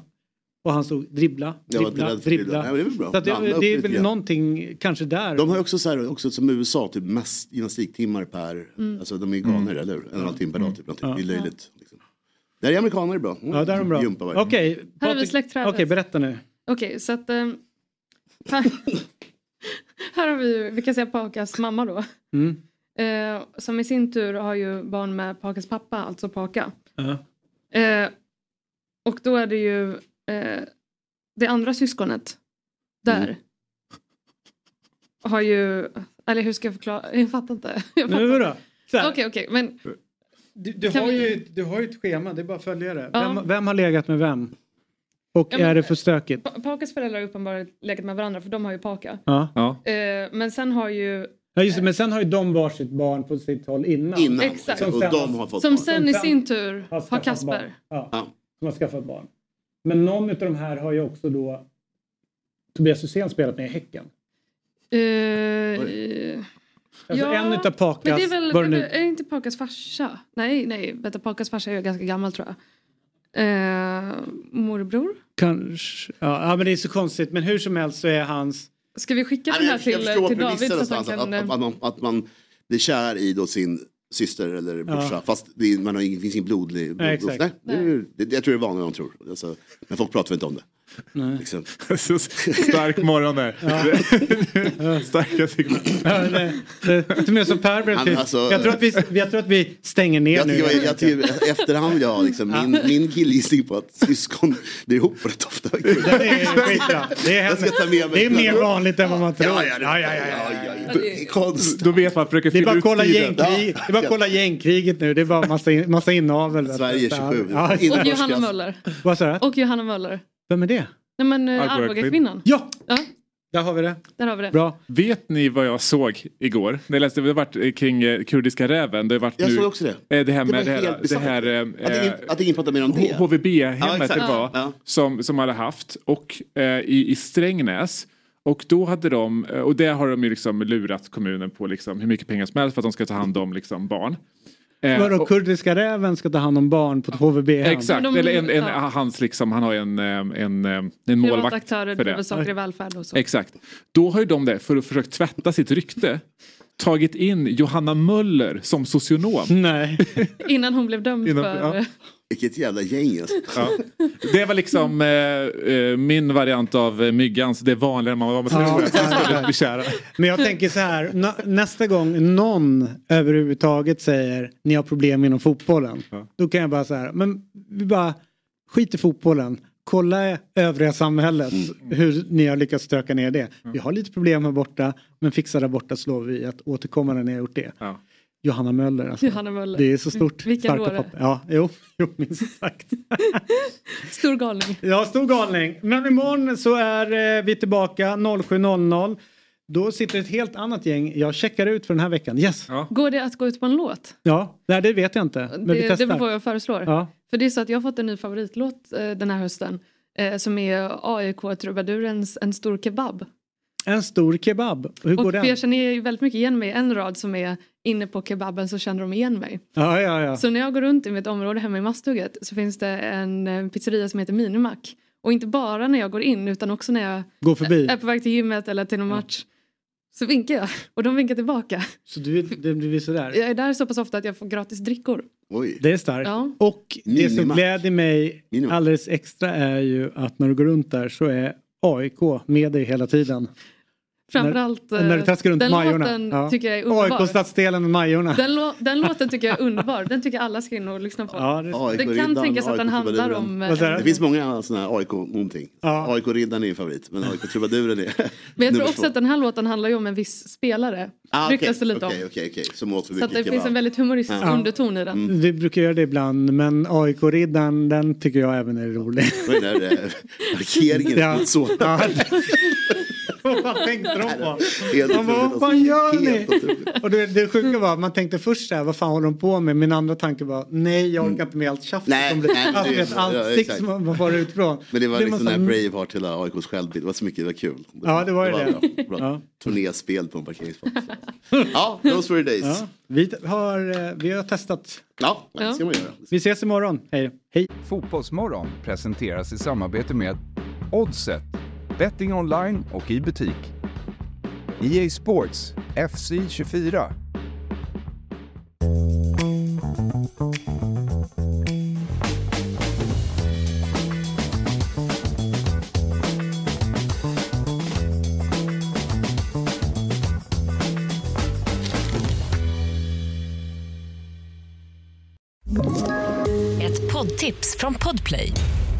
S1: Och han stod dribbla,
S14: Jag var inte
S1: dribbla,
S14: rädd för dribbla. Nej,
S1: dribbla.
S14: men det är väl bra.
S1: Så att
S14: Blanda
S1: det,
S14: upp
S1: det är
S14: lite
S1: väl
S14: grann.
S1: någonting kanske där.
S14: De har ju också så här, också som USA, typ mest gymnastiktimmar per,
S1: Mm.
S14: alltså de är ju galner eller hur? En och en halv timme per dag typ, någonting. det är löjligt. Liksom. Där är amerikaner bra. Mm.
S1: Ja, där är de bra.
S14: Gympa varje-
S1: Okej,
S3: Här har vi
S1: Patrik-
S3: släktträdet.
S1: Okej, berätta nu.
S3: Okej, så att... ehm, här, här har vi, ju- vi kan säga Pakas mamma då.
S1: Mm.
S3: Eh, som i sin tur har ju barn med Pakas pappa, alltså Paka.
S1: Ja.
S3: Eh, och då är det ju eh, det andra syskonet där.
S14: Mm.
S3: Har ju, eller hur ska jag förklara? Jag fattar inte. Jag fattar.
S1: Nu då? Så här.
S3: Okej, okej, men
S1: Du, du,
S3: Kan
S1: har
S3: vi-
S1: ju, du har ju ett schema, det är bara att följa det.
S3: Ja.
S1: Vem, vem har legat med vem? Och
S3: Ja, men-
S1: är det för stökigt?
S3: Pa- Pakas föräldrar har uppenbarligen legat med varandra för de har ju Paka.
S1: Ja. Ja.
S3: Eh, men sen har ju
S1: just det, men sen har ju de varsitt barn på sitt håll innan.
S3: Exakt.
S1: Som sen
S3: som sen i
S1: som
S3: sin tur har
S1: skaffat barn.
S3: Kasper.
S1: Ja, som har skaffat barn. Men någon av de här har ju också då Tobias Hysén spelat med i Häcken.
S3: Eh,
S1: Alltså en utav Pakas,
S3: Men det är väl,
S1: var det
S3: det är,
S1: nu?
S3: väl- är det inte Pakas farsa? Nej, nej, vänta, Pakas farsa är ju ganska gammal tror jag. Eh, morbror?
S1: Kanske. Ja, ja, men det är så konstigt. Men hur som helst så är hans...
S3: Ska vi skicka
S1: Nej,
S3: den
S1: men
S3: här
S1: jag- jag
S3: till,
S1: förstår
S3: till David?
S14: Premisser
S3: Så att han
S14: någonstans,
S3: kan, eh,
S14: att, att, att, man, att man blir kär i då sin syster eller brorsa
S1: Ja.
S14: fast det är, man har ingen, finns ingen blodlig...
S1: Nej,
S14: blod,
S1: exakt.
S14: nej, det, är- det, jag tror det är vanligare än de tror. Alltså, men folk pratar väl inte om det. Liksom.
S2: Stark morgon där. Starka
S1: Ja, nej. Det är Inte mer som Per blev
S14: Han,
S1: tyst.
S14: alltså-
S1: jag, tror att vi, jag tror att vi stänger ner
S14: Jag
S1: nu.
S14: tycker, jag, jag tycker, efterhand vill jag ha liksom, min, min killgissning på att syskon blir ihop rätt ofta.
S1: skitbra. Det är,
S14: jag ska ta med mig
S1: det är mer vanligt än vad man tror.
S14: Ja, ja, det-
S2: Då vet man, försöker
S1: Det är
S2: fylla
S1: bara att
S2: ut
S1: kolla,
S2: tiden.
S1: gängkrig, det är bara att kolla gängkriget nu. Det är bara massa, in, massa inavel. vet du.
S14: Sverige
S1: Så här.
S14: 27.
S1: Ja.
S3: Och Johanna Möller.
S1: Vad sa du?
S3: Och Johanna Möller.
S1: Vem är det?
S3: Nej men eh,
S2: Arboga
S3: Arboga-kvinnan.
S1: Ja!
S3: ja!
S1: Där har vi det.
S3: Där har vi det.
S2: Vet ni vad jag såg igår? Det, läste, det har varit eh, kring eh, kurdiska räven. Det har varit
S14: Jag
S2: nu,
S14: såg också det.
S2: eh, Det här
S14: Det
S2: med
S14: var
S2: det,
S14: helt
S2: här, det
S14: bisarrt.
S2: här... eh,
S14: Att ingen, att ingen pratar mer om det. Ja,
S2: HVB-hemmet
S14: exakt.
S2: det var
S14: Ja.
S2: som, som hade haft och eh, i, i Strängnäs. Och då hade de, eh, och där har de ju liksom lurat kommunen på liksom hur mycket pengar som helst för att de ska ta hand om liksom barn. Eh,
S1: Vadå,
S2: och-
S1: kurdiska räven ska ta hand om barn på ett HVB?
S2: Exakt, eller en, en, hans liksom, han har ju en, eh, en, eh, en
S3: Privata
S2: målvakt
S3: aktörer
S2: för
S3: driver
S2: det.
S3: saker i välfärd och så.
S2: Exakt. Då har ju de det, för att försöka tvätta sitt rykte, tagit in Johanna Möller som socionom.
S1: Nej.
S3: Innan hon blev dömd
S2: Innan-
S3: för... eh,
S2: ja.
S14: Vilket jävla gäng alltså.
S2: Ja. Det var liksom eh, eh, min variant av eh, myggans, det är vanligare man var med
S1: Ja.
S2: ja. skulle bli kära.
S1: Men jag tänker så här, na- nästa gång någon överhuvudtaget säger ni har problem inom fotbollen. Då kan jag bara så här, men vi bara skit i fotbollen. Kolla övriga samhället hur ni har lyckats stöka ner det. Vi har lite problem här borta men fixar där borta så lovar vi att återkomma när ni har gjort det. Johanna Möller. Alltså.
S3: Johanna Möller. Mm,
S1: Det är så stort.
S3: Vilken
S1: Starka
S3: dåre.
S1: pop. Ja, jo, jo, minst sagt.
S3: Stor galning.
S1: Ja, stor galning. Men imorgon så är eh, vi tillbaka 07.00. Då sitter ett helt annat gäng. Jag checkar ut för den här veckan. Yes! Ja,
S3: Går det att gå ut på en låt?
S1: nej, det vet jag inte. Men vi
S3: det, det
S1: testar.
S3: är vad jag föreslår.
S1: Ja.
S3: För det är så att jag har fått en ny favoritlåt eh, den här hösten. Eh, som är AIK-trubadurens En stor kebab.
S1: En stor kebab. Hur går
S3: och för
S1: den?
S3: jag känner ju väldigt mycket igen mig. En rad som är inne på kebaben så känner de igen mig.
S1: Ja, ja, ja.
S3: Så när jag går runt i mitt område hemma i Masthugget så finns det en eh, pizzeria som heter Minimac. Och inte bara när jag går in utan också när jag
S1: Gå förbi.
S3: är på väg till gymmet eller till någon match. Så vinkar jag och de vinkar tillbaka.
S1: Så du, det blir sådär?
S3: Jag är där så pass ofta att jag får gratis drickor.
S14: Oj.
S1: Det är starkt.
S3: Ja.
S1: Och det som
S3: Minimax.
S1: gläder mig alldeles extra är ju att när du går runt där så är AIK med dig hela tiden.
S3: Framförallt
S1: när, när du
S3: eh,
S1: traskar runt
S3: den
S1: Majorna.
S3: låten
S1: Ja. E
S3: tycker jag är
S1: AIK
S3: underbar.
S1: stadsdelen med Majorna.
S3: Den, lå- den låten tycker jag är underbar. Den tycker jag alla ska in och lyssna på.
S1: Ja, det
S3: det
S1: är-
S3: kan
S14: AIK-riddaren,
S3: tänkas att den handlar om...
S14: AIK-trubaduren.
S3: eh,
S14: Det finns många sådana här AIK-någonting. AIK-riddaren är ju favorit, men AIK-trubaduren är
S3: Men jag
S14: nummer
S3: tror också
S14: två.
S3: att den här låten handlar ju om en viss spelare.
S14: Ah, okej,
S3: Ryktas det lite
S14: Okej,
S3: om.
S14: okej, okej. Som åt för
S3: Så att
S14: mycket
S3: det finns
S14: kebab.
S3: en väldigt humoristisk
S1: Ja.
S3: underton i den.
S14: Mm.
S1: Vi brukar göra det ibland men AIK-riddaren den tycker jag även är rolig.
S14: Vad är det där, eh, Markeringen
S1: Ja.
S14: är så.
S1: Ja. Vad tänkte de på?
S14: Helt
S1: Man bara,
S14: otroligt.
S1: vad fan gör
S14: Helt Alltså,
S1: ni? Och det, det sjuka var, man tänkte först så här, vad fan håller de på med? Min andra tanke var, nej jag orkar inte med allt tjafs.
S14: Mm. Nej,
S1: som blir,
S14: nej, men det
S1: alltså,
S14: är-
S1: vet, allt
S14: ja,
S1: stick
S14: exakt.
S1: som man- man får utifrån.
S14: Men det var
S1: Blir
S14: liksom
S1: man så
S14: den här
S1: här,
S14: Braveheart hela AIKs självbild. Det var så mycket, det var kul.
S1: Ja, det var ju det.
S14: Bra.
S1: Ja.
S14: Bra. Turnéspel på en parkeringsplats. ja, those were the days.
S1: Ja, vi, har, eh, vi har testat.
S14: Ja, det ska man göra.
S1: Vi ses imorgon. Hej. Hej.
S4: Fotbollsmorgon presenteras i samarbete med Oddset, betting online och i butik. EA Sports, FC 24.
S13: Ett poddtips från Podplay.